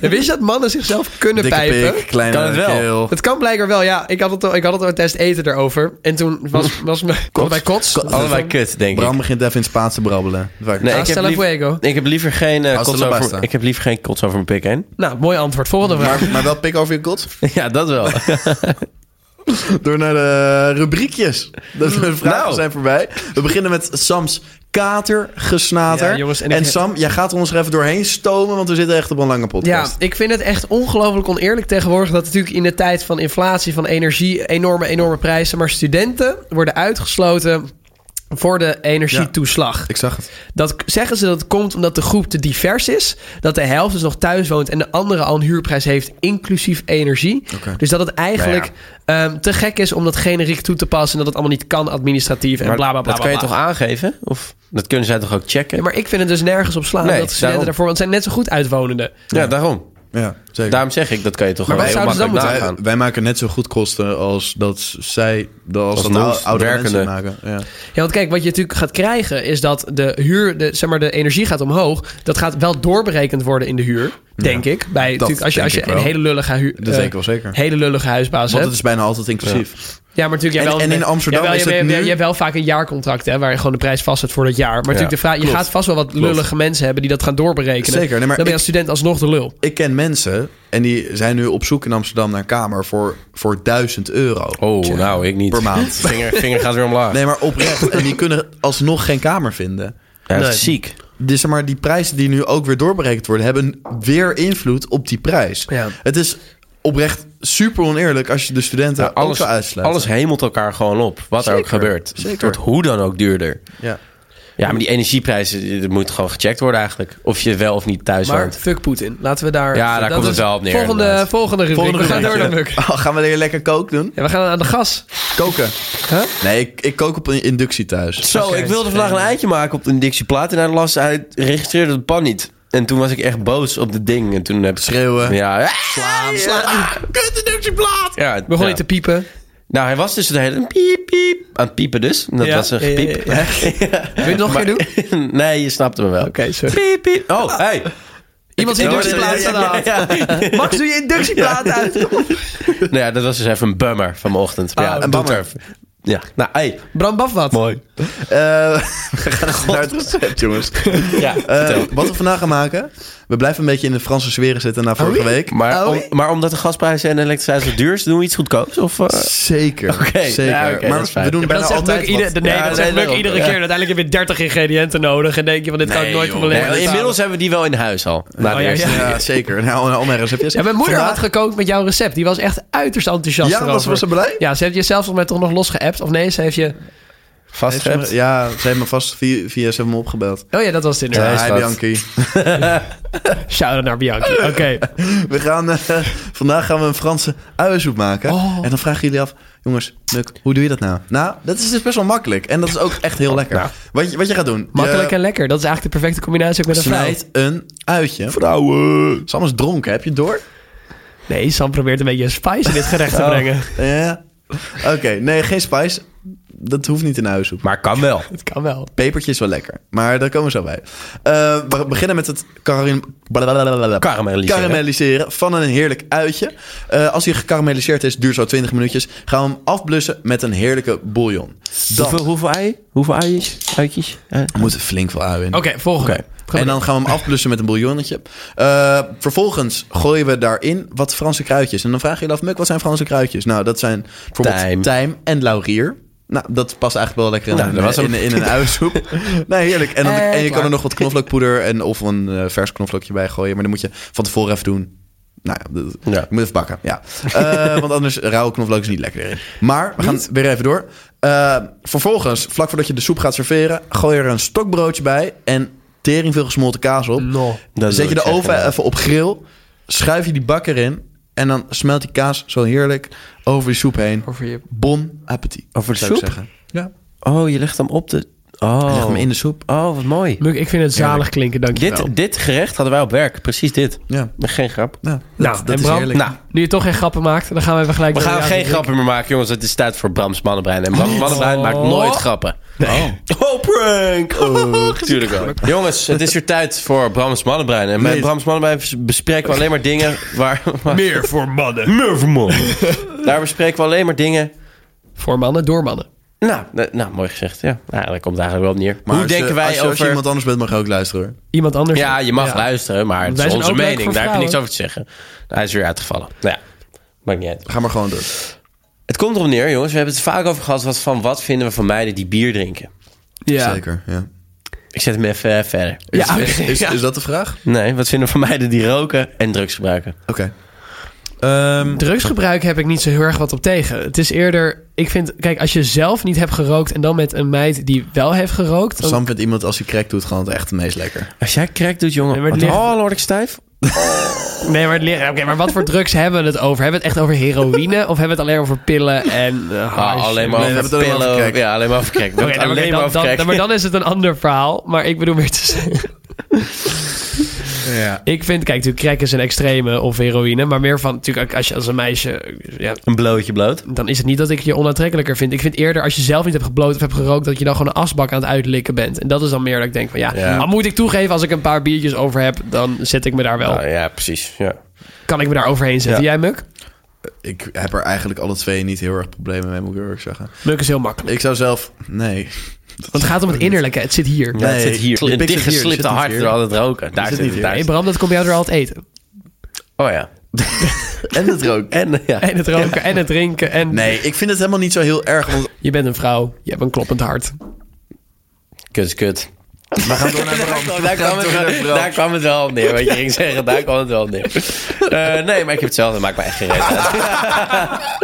Speaker 7: Wist je dat mannen zichzelf kunnen
Speaker 6: Dikke
Speaker 7: pijpen?
Speaker 6: pik, kleine
Speaker 8: Kan het wel?
Speaker 6: keel.
Speaker 7: Het kan blijkbaar wel, ja. Ik had het al, ik had het al een test eten erover. En toen was, was me... Allebei kots.
Speaker 6: Kots.
Speaker 8: Allebei kut, denk
Speaker 6: Bram
Speaker 8: ik.
Speaker 6: begint even in het Spaans te brabbelen.
Speaker 8: Nee, ik,
Speaker 7: Hasta
Speaker 8: heb
Speaker 7: la
Speaker 8: liever,
Speaker 7: fuego.
Speaker 8: ik heb liever geen eh,
Speaker 6: Hasta
Speaker 8: kots
Speaker 6: la basta.
Speaker 8: over, ik heb liever geen kots over mijn pik heen.
Speaker 7: Nou, mooi antwoord. Volgende vraag.
Speaker 6: Maar, maar wel pik over je kot?
Speaker 8: ja, dat wel.
Speaker 6: Door naar de rubriekjes. De vragen
Speaker 8: Nou.
Speaker 6: zijn voorbij. We beginnen met Sams katergesnater.
Speaker 7: Ja, jongens, en
Speaker 6: en
Speaker 7: ik-
Speaker 6: Sam, jij gaat ons er even doorheen stomen, want we zitten echt op een lange
Speaker 7: Ja,
Speaker 6: podcast.
Speaker 7: ik vind het echt ongelooflijk oneerlijk tegenwoordig dat natuurlijk in de tijd van inflatie, van energie, enorme, enorme prijzen, maar studenten worden uitgesloten voor de energietoeslag.
Speaker 6: Ik zag het.
Speaker 7: Dat k- zeggen ze dat het komt omdat de groep te divers is. Dat de helft dus nog thuis woont en de andere al een huurprijs heeft, inclusief energie.
Speaker 6: Oké.
Speaker 7: Dus dat het
Speaker 8: Nou
Speaker 7: eigenlijk ehm, te gek is om dat generiek toe te passen. En dat het allemaal niet kan administratief en
Speaker 8: Maar
Speaker 7: bla bla bla.
Speaker 8: dat kan je
Speaker 7: bla,
Speaker 8: toch
Speaker 7: bla.
Speaker 8: aangeven? Of dat kunnen zij toch ook
Speaker 7: Ja,
Speaker 8: checken? Ja,
Speaker 7: maar ik vind het dus nergens op slaan
Speaker 8: Nee,
Speaker 7: dat studenten
Speaker 8: daarom.
Speaker 7: daarvoor... Want het zijn net zo goed uitwonenden.
Speaker 8: daarom.
Speaker 6: Ja, zeker.
Speaker 8: Daarom zeg ik, dat kan je toch
Speaker 7: Maar
Speaker 8: gewoon
Speaker 7: wij
Speaker 8: heel
Speaker 7: zouden
Speaker 8: makkelijk
Speaker 7: ze dan
Speaker 6: wij,
Speaker 8: nagaan.
Speaker 6: wij maken net zo goed kosten als dat zij, dat als, dat
Speaker 8: Als
Speaker 6: de
Speaker 8: ons
Speaker 6: oudere mensen
Speaker 8: werkende.
Speaker 6: maken. Ja.
Speaker 7: Ja, want kijk, wat je natuurlijk gaat krijgen is dat de huur, de, zeg maar, de energie gaat omhoog. Dat gaat wel doorberekend worden in de huur, denk ik. Bij, natuurlijk, als je,
Speaker 6: denk
Speaker 7: als je
Speaker 6: ik
Speaker 7: een
Speaker 6: wel.
Speaker 7: hele lullige, huur,
Speaker 6: Dat
Speaker 7: eh,
Speaker 6: denk ik wel zeker.
Speaker 7: hele lullige huisbaas
Speaker 6: Want
Speaker 7: hebt.
Speaker 6: het is bijna altijd inclusief.
Speaker 7: Ja, maar natuurlijk...
Speaker 6: En-
Speaker 7: jij wel,
Speaker 6: en in Amsterdam
Speaker 7: jawel,
Speaker 6: is
Speaker 7: je,
Speaker 6: het
Speaker 7: je,
Speaker 6: nu-
Speaker 7: je hebt wel vaak een jaarcontract, hè, waar je gewoon de prijs vast zet voor dat jaar. Maar natuurlijk de vraag, je
Speaker 6: klopt.
Speaker 7: gaat vast wel wat lullige mensen hebben die dat gaan doorberekenen.
Speaker 6: Zeker,
Speaker 7: Dan
Speaker 6: nee, maar
Speaker 7: ben je
Speaker 6: ik-
Speaker 7: als student alsnog de lul.
Speaker 6: Ik ken mensen en die zijn nu op zoek in Amsterdam naar een kamer voor, voor 1000 euro
Speaker 8: Oh, nou, ik niet.
Speaker 6: per maand.
Speaker 8: Vinger, vinger gaat weer omlaag.
Speaker 6: Nee, maar oprecht. En die kunnen alsnog geen kamer vinden.
Speaker 8: Ja, dat is ziek.
Speaker 6: Dus zeg maar, die prijzen die nu ook weer doorberekend worden, hebben weer invloed op die prijs.
Speaker 7: Ja.
Speaker 6: Het is oprecht super oneerlijk als je de studenten
Speaker 8: Ja,
Speaker 6: ook
Speaker 8: alles,
Speaker 6: zou uitsluiten.
Speaker 8: alles hemelt elkaar gewoon op, wat er ook
Speaker 6: Zeker,
Speaker 8: gebeurt.
Speaker 6: zeker.
Speaker 8: Het wordt hoe dan ook duurder.
Speaker 6: Ja.
Speaker 8: Ja, maar die energieprijzen, dat moet gewoon gecheckt worden eigenlijk. Of je wel of niet thuis
Speaker 7: Maar
Speaker 8: woont.
Speaker 7: fuck Poetin. Laten we daar...
Speaker 8: Ja, daar
Speaker 7: dat
Speaker 8: komt
Speaker 7: is
Speaker 8: het wel op neer,
Speaker 7: Volgende,
Speaker 8: inderdaad.
Speaker 7: volgende rubriek.
Speaker 6: Volgende
Speaker 7: we gaan
Speaker 6: rubriek,
Speaker 7: door naar
Speaker 6: ja.
Speaker 7: Muk.
Speaker 6: Oh, gaan we weer lekker kook doen?
Speaker 7: Ja, we gaan aan de gas.
Speaker 6: Koken.
Speaker 7: Huh?
Speaker 6: Nee, ik, ik kook op een inductie thuis.
Speaker 8: Zo, ik wilde vandaag een eitje maken op een Dixie plaat. En hij las, hij registreerde het pan niet. En toen was ik echt boos op het ding. En toen heb ik...
Speaker 6: Schreeuwen.
Speaker 8: Ja, slaan,
Speaker 7: Ah,
Speaker 6: Kut inductie plaat!
Speaker 8: Ja, het
Speaker 7: Begon
Speaker 8: ja.
Speaker 7: je te piepen.
Speaker 8: Nou, hij was dus de hele piep, piep. Aan het piepen dus. Dat
Speaker 7: Ja,
Speaker 8: was een
Speaker 7: ja, ja,
Speaker 8: gepiep.
Speaker 7: ja. Wil je het nog een keer doen? Oké,
Speaker 8: doen? nee, je snapte me wel.
Speaker 7: sorry.
Speaker 8: Piep, piep. Oh, hey.
Speaker 7: Iemand
Speaker 8: Ik-
Speaker 7: zijn inductieplaat
Speaker 8: Ja, ja,
Speaker 7: staat aan.
Speaker 8: ja, ja.
Speaker 7: Max, doe je inductieplaat uit.
Speaker 8: Nou ja, dat was dus even een bummer vanochtend. Maar
Speaker 7: Ah,
Speaker 8: ja,
Speaker 6: een
Speaker 8: doet
Speaker 6: bummer.
Speaker 8: er- Ja, nou, hey.
Speaker 7: Bram Bafwat.
Speaker 8: Mooi.
Speaker 6: Eh, we gaan naar het recept, jongens.
Speaker 8: Ja,
Speaker 6: Eh,
Speaker 8: vertel.
Speaker 6: wat we vandaag gaan maken... We blijven een beetje in de Franse sfeer zitten na vorige week. Eh,
Speaker 8: Maar,
Speaker 7: Oh,
Speaker 8: om- maar omdat de gasprijzen en de elektriciteit zo duur is, doen we iets goedkoops? Of, eh?
Speaker 6: Zeker.
Speaker 8: Oké,
Speaker 6: zeker.
Speaker 8: ja, oké, dat
Speaker 6: maar
Speaker 8: is fijn.
Speaker 6: we doen
Speaker 8: Ja,
Speaker 6: bijna
Speaker 7: Dat zegt Muk
Speaker 6: altijd
Speaker 7: ieder-
Speaker 6: wat.
Speaker 7: nee,
Speaker 8: Ja,
Speaker 7: dat zegt
Speaker 8: nee,
Speaker 7: Muk
Speaker 8: daarom.
Speaker 7: iedere
Speaker 8: Ja.
Speaker 7: keer. En uiteindelijk heb je 30 ingrediënten nodig. En denk je van, dit kan ik
Speaker 6: Nee,
Speaker 7: nooit van
Speaker 6: joh.
Speaker 7: mijn leven
Speaker 8: Nee,
Speaker 7: betalen.
Speaker 8: inmiddels hebben we die wel in huis al. Na de
Speaker 7: Oh, ja,
Speaker 8: eerste.
Speaker 7: ja.
Speaker 6: Ja, zeker. Nou, al mijn receptjes.
Speaker 7: Ja, mijn moeder
Speaker 6: Vandaag-
Speaker 7: had gekookt met jouw recept. Die was echt uiterst enthousiast
Speaker 6: Ja, was,
Speaker 7: erover.
Speaker 6: was ze blij?
Speaker 7: Ja, ze heeft je zelfs nog met toch nog losgeappt. Of nee, ze heeft je...
Speaker 6: Heeft ze me-
Speaker 8: Vastgehept.
Speaker 6: ja, ze heeft me vast via, via ze heeft me opgebeld.
Speaker 7: Oh ja, dat was het inderdaad.
Speaker 8: Ja. is
Speaker 6: Hi
Speaker 8: dat.
Speaker 6: Bianchi.
Speaker 7: Shout-out naar Bianchi. Oké.
Speaker 6: We gaan, eh, vandaag gaan we een Franse uiensoep maken.
Speaker 7: Oh.
Speaker 6: En dan vragen jullie af, jongens, Muk, hoe doe je dat nou? Nou, dat is dus best wel makkelijk. En dat is ook echt heel lekker. Wat, je, wat je gaat
Speaker 7: Oh,
Speaker 6: doen.
Speaker 7: nou. Makkelijk
Speaker 6: je
Speaker 7: en lekker. Dat is eigenlijk de perfecte combinatie ook met een vrouw.
Speaker 6: snijdt een uitje. Vrouwen. Sam is dronken, heb je het door?
Speaker 7: Nee, Sam probeert een beetje spice in dit gerecht te brengen.
Speaker 6: Ja. Oké, nee, geen spice. Dat hoeft niet in uiensoep.
Speaker 8: Maar kan wel.
Speaker 7: Het kan wel.
Speaker 6: Pepertje is wel lekker, maar daar komen we zo bij. Eh, we beginnen met het karim...
Speaker 8: Karamelliseren.
Speaker 6: karamelliseren van een heerlijk uitje. Eh, als hij gekarameliseerd is, duurt zo 20 minuutjes. Gaan we hem afblussen met een heerlijke bouillon.
Speaker 8: Hoeveel,
Speaker 6: Dan
Speaker 8: hoeveel ei? Hoeveel eijes? Uitjes? Eh,
Speaker 6: moet er flink veel ui in.
Speaker 7: Oké, volgende.
Speaker 6: En dan gaan we hem afblussen met een bouillonnetje. Eh, vervolgens gooien we daarin wat Franse kruidjes. En dan vraag je je af, Muk, wat zijn Franse kruidjes? Nou, dat zijn bijvoorbeeld
Speaker 8: Tijm.
Speaker 6: tijm, en laurier. Nou, dat past eigenlijk wel lekker in,
Speaker 8: Nou, dat was
Speaker 6: een,
Speaker 8: hem.
Speaker 6: in, in een uiensoep. nee, heerlijk. En, dan,
Speaker 7: Eh,
Speaker 6: en je
Speaker 7: klaar.
Speaker 6: kan er nog wat knoflookpoeder en, of een eh, vers knoflookje bij gooien. Maar dan moet je van tevoren even doen. Nou ja, dat-
Speaker 8: Ja.
Speaker 6: je moet even bakken. Ja. Eh, want anders rauwe knoflook is niet lekker erin. Maar we gaan weer even door. Eh, vervolgens, vlak voordat je de soep gaat serveren, gooi er een stokbroodje bij en tering veel gesmolten kaas op.
Speaker 7: No.
Speaker 8: Mm. dat wil
Speaker 6: Zet je
Speaker 8: ik
Speaker 6: de
Speaker 8: zeggen,
Speaker 6: oven
Speaker 8: ja.
Speaker 6: even op grill, schuif je die bak erin en dan smelt die kaas zo heerlijk over die soep heen.
Speaker 7: Over je...
Speaker 6: Bon appetit.
Speaker 8: Over de
Speaker 6: zou ik
Speaker 8: soep?
Speaker 6: zeggen. Ja.
Speaker 8: Oh, je legt hem op de... Oh.
Speaker 6: Je legt hem in de soep.
Speaker 8: Oh, wat mooi.
Speaker 7: Muk, ik vind het zalig klinken, dank je wel.
Speaker 8: Dit, dit gerecht hadden wij op werk. Precies dit.
Speaker 6: Ja.
Speaker 8: Geen grap.
Speaker 6: ja dat,
Speaker 7: Nou,
Speaker 6: dat
Speaker 7: en
Speaker 6: is
Speaker 7: Bram?
Speaker 6: heerlijk.
Speaker 8: Nou,
Speaker 7: Nu je toch geen grappen maakt, dan gaan we even gelijk...
Speaker 8: we
Speaker 7: door
Speaker 8: gaan
Speaker 7: naar
Speaker 8: geen
Speaker 7: jou.
Speaker 8: grappen meer maken, jongens. Het is tijd voor Brams Mannenbrein. En
Speaker 7: Oh.
Speaker 8: Brams Mannenbrein maakt nooit grappen. Oh, prank! Oh, tuurlijk wel. Jongens, het is weer tijd voor Brams Mannenbrein. En bij
Speaker 6: Nee.
Speaker 8: Brams Mannenbrein bespreken we alleen maar dingen waar... waar-
Speaker 7: Meer voor mannen.
Speaker 8: Meer voor mannen. Daar bespreken we alleen maar dingen...
Speaker 7: Voor mannen, door mannen.
Speaker 8: Nou, nou, nou, mooi gezegd. Ja, nou, daar komt het eigenlijk wel op neer.
Speaker 6: Maar
Speaker 8: Hoe
Speaker 6: als je-
Speaker 8: denken wij
Speaker 6: als je,
Speaker 8: over...
Speaker 6: Als je iemand anders bent, mag je ook luisteren hoor.
Speaker 7: Iemand anders.
Speaker 8: Ja, je mag luisteren, maar het
Speaker 7: Wij
Speaker 8: is
Speaker 7: zijn
Speaker 8: onze
Speaker 7: ook leuk
Speaker 8: mening.
Speaker 7: voor
Speaker 8: Daar heb je niks
Speaker 7: vrouwen.
Speaker 8: over te zeggen. Hij is weer uitgevallen. Nou ja, maakt niet uit.
Speaker 6: Ga maar gewoon door.
Speaker 8: Het komt erop neer, jongens. We hebben het er vaak over gehad. Wat, van wat vinden we van meiden die bier drinken?
Speaker 7: Ja.
Speaker 6: Zeker, ja.
Speaker 8: Ik zet hem even eh, verder.
Speaker 7: Ja,
Speaker 6: Is, is,
Speaker 7: ja.
Speaker 6: is dat de vraag?
Speaker 8: Nee, wat vinden we van meiden die roken en drugs gebruiken?
Speaker 6: Oké. Ehm,
Speaker 7: Drugsgebruik heb ik niet zo heel erg wat op tegen. Het is eerder, ik vind, kijk, als je zelf niet hebt gerookt en dan met een meid die wel heeft gerookt. Dan,
Speaker 6: Sam vindt iemand als hij crack doet gewoon het echt het meest lekker.
Speaker 8: Als jij crack doet,
Speaker 7: Nee,
Speaker 8: jongen.
Speaker 7: maar het ligt-
Speaker 8: Oh, word ik stijf.
Speaker 7: nee, maar, het li- oké, maar wat voor drugs hebben we het over? Hebben we het echt over heroïne of hebben we het alleen over pillen en. eh, hash?
Speaker 8: ah, alleen maar
Speaker 6: Ah, Nee, we
Speaker 8: over
Speaker 6: hebben het alleen maar over
Speaker 8: pillen.
Speaker 6: crack.
Speaker 8: Ja, alleen maar over crack.
Speaker 7: Oké, nou, oké,
Speaker 8: alleen
Speaker 7: dan-
Speaker 8: maar over
Speaker 7: dan-
Speaker 8: crack.
Speaker 7: dan- maar dan is het een ander verhaal. Maar ik bedoel meer te zeggen.
Speaker 6: Ja.
Speaker 7: Ik vind, kijk, natuurlijk crack is een extreme of heroïne. Maar meer van, natuurlijk, als je als een meisje... Ja,
Speaker 8: Een blootje bloot.
Speaker 7: dan is het niet dat ik je onaantrekkelijker vind. Ik vind eerder, als je zelf niet hebt gebloot of hebt gerookt... dat je dan gewoon een asbak aan het uitlikken bent. En dat is dan meer dat ik denk van, ja,
Speaker 8: Ja.
Speaker 7: al moet ik toegeven... als ik een paar biertjes over heb, dan zet ik me daar wel...
Speaker 8: Ah, ja, precies. Ja.
Speaker 7: kan ik me daar overheen zetten.
Speaker 8: Ja.
Speaker 7: Jij, Muk?
Speaker 6: Ik heb er eigenlijk alle twee niet heel erg problemen mee, moet ik eerlijk zeggen.
Speaker 7: Muk is heel makkelijk.
Speaker 6: Ik zou zelf... Nee.
Speaker 7: Want het gaat om het innerlijke. Het zit hier.
Speaker 8: Ja, het
Speaker 6: Nee,
Speaker 8: zit hier.
Speaker 6: het
Speaker 8: Een
Speaker 6: pik zit hier, het
Speaker 8: dichtgeslipte
Speaker 6: zit niet
Speaker 8: hart
Speaker 6: hier.
Speaker 8: door al het roken. Daar
Speaker 6: zit
Speaker 8: zit
Speaker 6: niet
Speaker 8: het.
Speaker 6: hier.
Speaker 8: daar
Speaker 7: Nee,
Speaker 8: zit-
Speaker 7: Bram, dat kom jij door al het eten.
Speaker 8: Oh ja.
Speaker 6: En het rook.
Speaker 8: En ja.
Speaker 7: En het roken en het drinken. En
Speaker 6: Nee, ik vind het helemaal niet zo heel erg. Want
Speaker 7: je bent een vrouw. Je hebt een kloppend hart.
Speaker 8: Kut is kut.
Speaker 6: Oh, daar kwam het wel.
Speaker 8: Daar kwam het wel op neer. Wat je ging zeggen, daar kwam het wel op neer. Eh, nee, maar ik heb hetzelfde. Maakt me echt geen reet uit.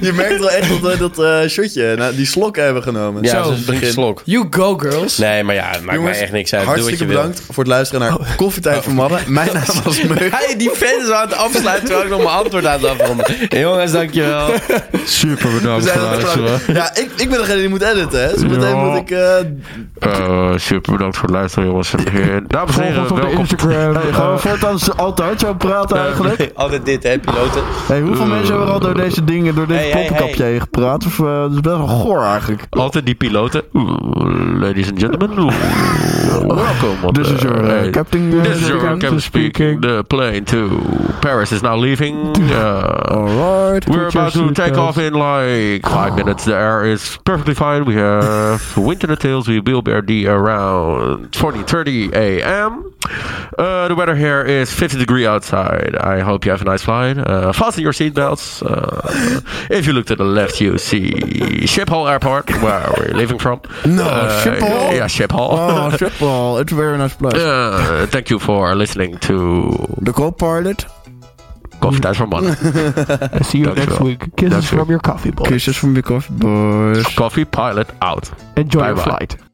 Speaker 6: Je merkt wel echt dat we dat eh, shotje, nou, die slok hebben genomen.
Speaker 8: Ja,
Speaker 6: Zo,
Speaker 8: dus drink een
Speaker 6: begin.
Speaker 8: slok.
Speaker 7: You go, girls.
Speaker 8: Nee, maar ja, het maakt
Speaker 6: Jongens,
Speaker 8: mij echt niks uit. Doe wat
Speaker 6: Hartstikke
Speaker 8: je Oh.
Speaker 6: bedankt voor het luisteren naar Koffietijd voor Mannen. Mijn naam was
Speaker 8: wil.
Speaker 6: Meuk.
Speaker 8: Hij die fan is aan het afsluiten terwijl ik nog mijn antwoord aan het afronden. Jongens, dankjewel.
Speaker 2: Super
Speaker 6: We
Speaker 2: bedankt
Speaker 6: zijn aan het praten. Ja, ik, ik ben degene die moet editen, hè. Zo meteen moet ik... eh,
Speaker 3: Eh, super bedankt voor het luisteren, jongens. Eh, Dames en
Speaker 4: Volg ons
Speaker 3: heren,
Speaker 4: op de
Speaker 3: welkom.
Speaker 4: Instagram. gaan we voortaan z- altijd zo praten eigenlijk?
Speaker 8: Altijd dit, hè, piloten.
Speaker 4: Hey, hoeveel mensen hebben er al door deze dingen, door dit
Speaker 8: Hey, hey,
Speaker 4: poppenkapje
Speaker 8: hey.
Speaker 4: heen gepraat? Of, eh, dat is best wel goor eigenlijk.
Speaker 3: Altijd die piloten. Oeh, ladies and gentlemen. Oeh, welkom. op
Speaker 4: This
Speaker 3: de-
Speaker 4: is your eh,
Speaker 3: hey.
Speaker 4: captain, eh,
Speaker 3: This is your
Speaker 4: captain
Speaker 3: captain speaking. The plane to Paris is now leaving. Uh,
Speaker 4: Alright.
Speaker 3: We're
Speaker 4: put your
Speaker 3: about to take
Speaker 4: seatbelts.
Speaker 3: off in like five minutes. The air is perfectly fine. We have wind in the tails. We will be ready around 20, 30 a.m. Uh, the weather here is 50 degree outside. I hope you have a nice flight. Uh, fasten your seatbelts. Uh, if you look to the left, you see Schiphol Airport, where we're leaving from.
Speaker 4: No,
Speaker 3: Uh,
Speaker 4: Schiphol.
Speaker 3: Yeah, Schiphol.
Speaker 4: Oh, Schiphol. It's a very nice place.
Speaker 3: Uh, thank you for listening to
Speaker 4: The co-pilot.
Speaker 6: Oh.
Speaker 3: Coffee Time for Money.
Speaker 4: See you
Speaker 3: Dankjewel.
Speaker 4: next week. Kisses
Speaker 3: Dankjewel.
Speaker 4: from your coffee boy. Kisses from your coffee boys.
Speaker 3: Coffee Pilot out.
Speaker 4: Enjoy
Speaker 3: Bye
Speaker 4: your
Speaker 3: bye.
Speaker 4: flight.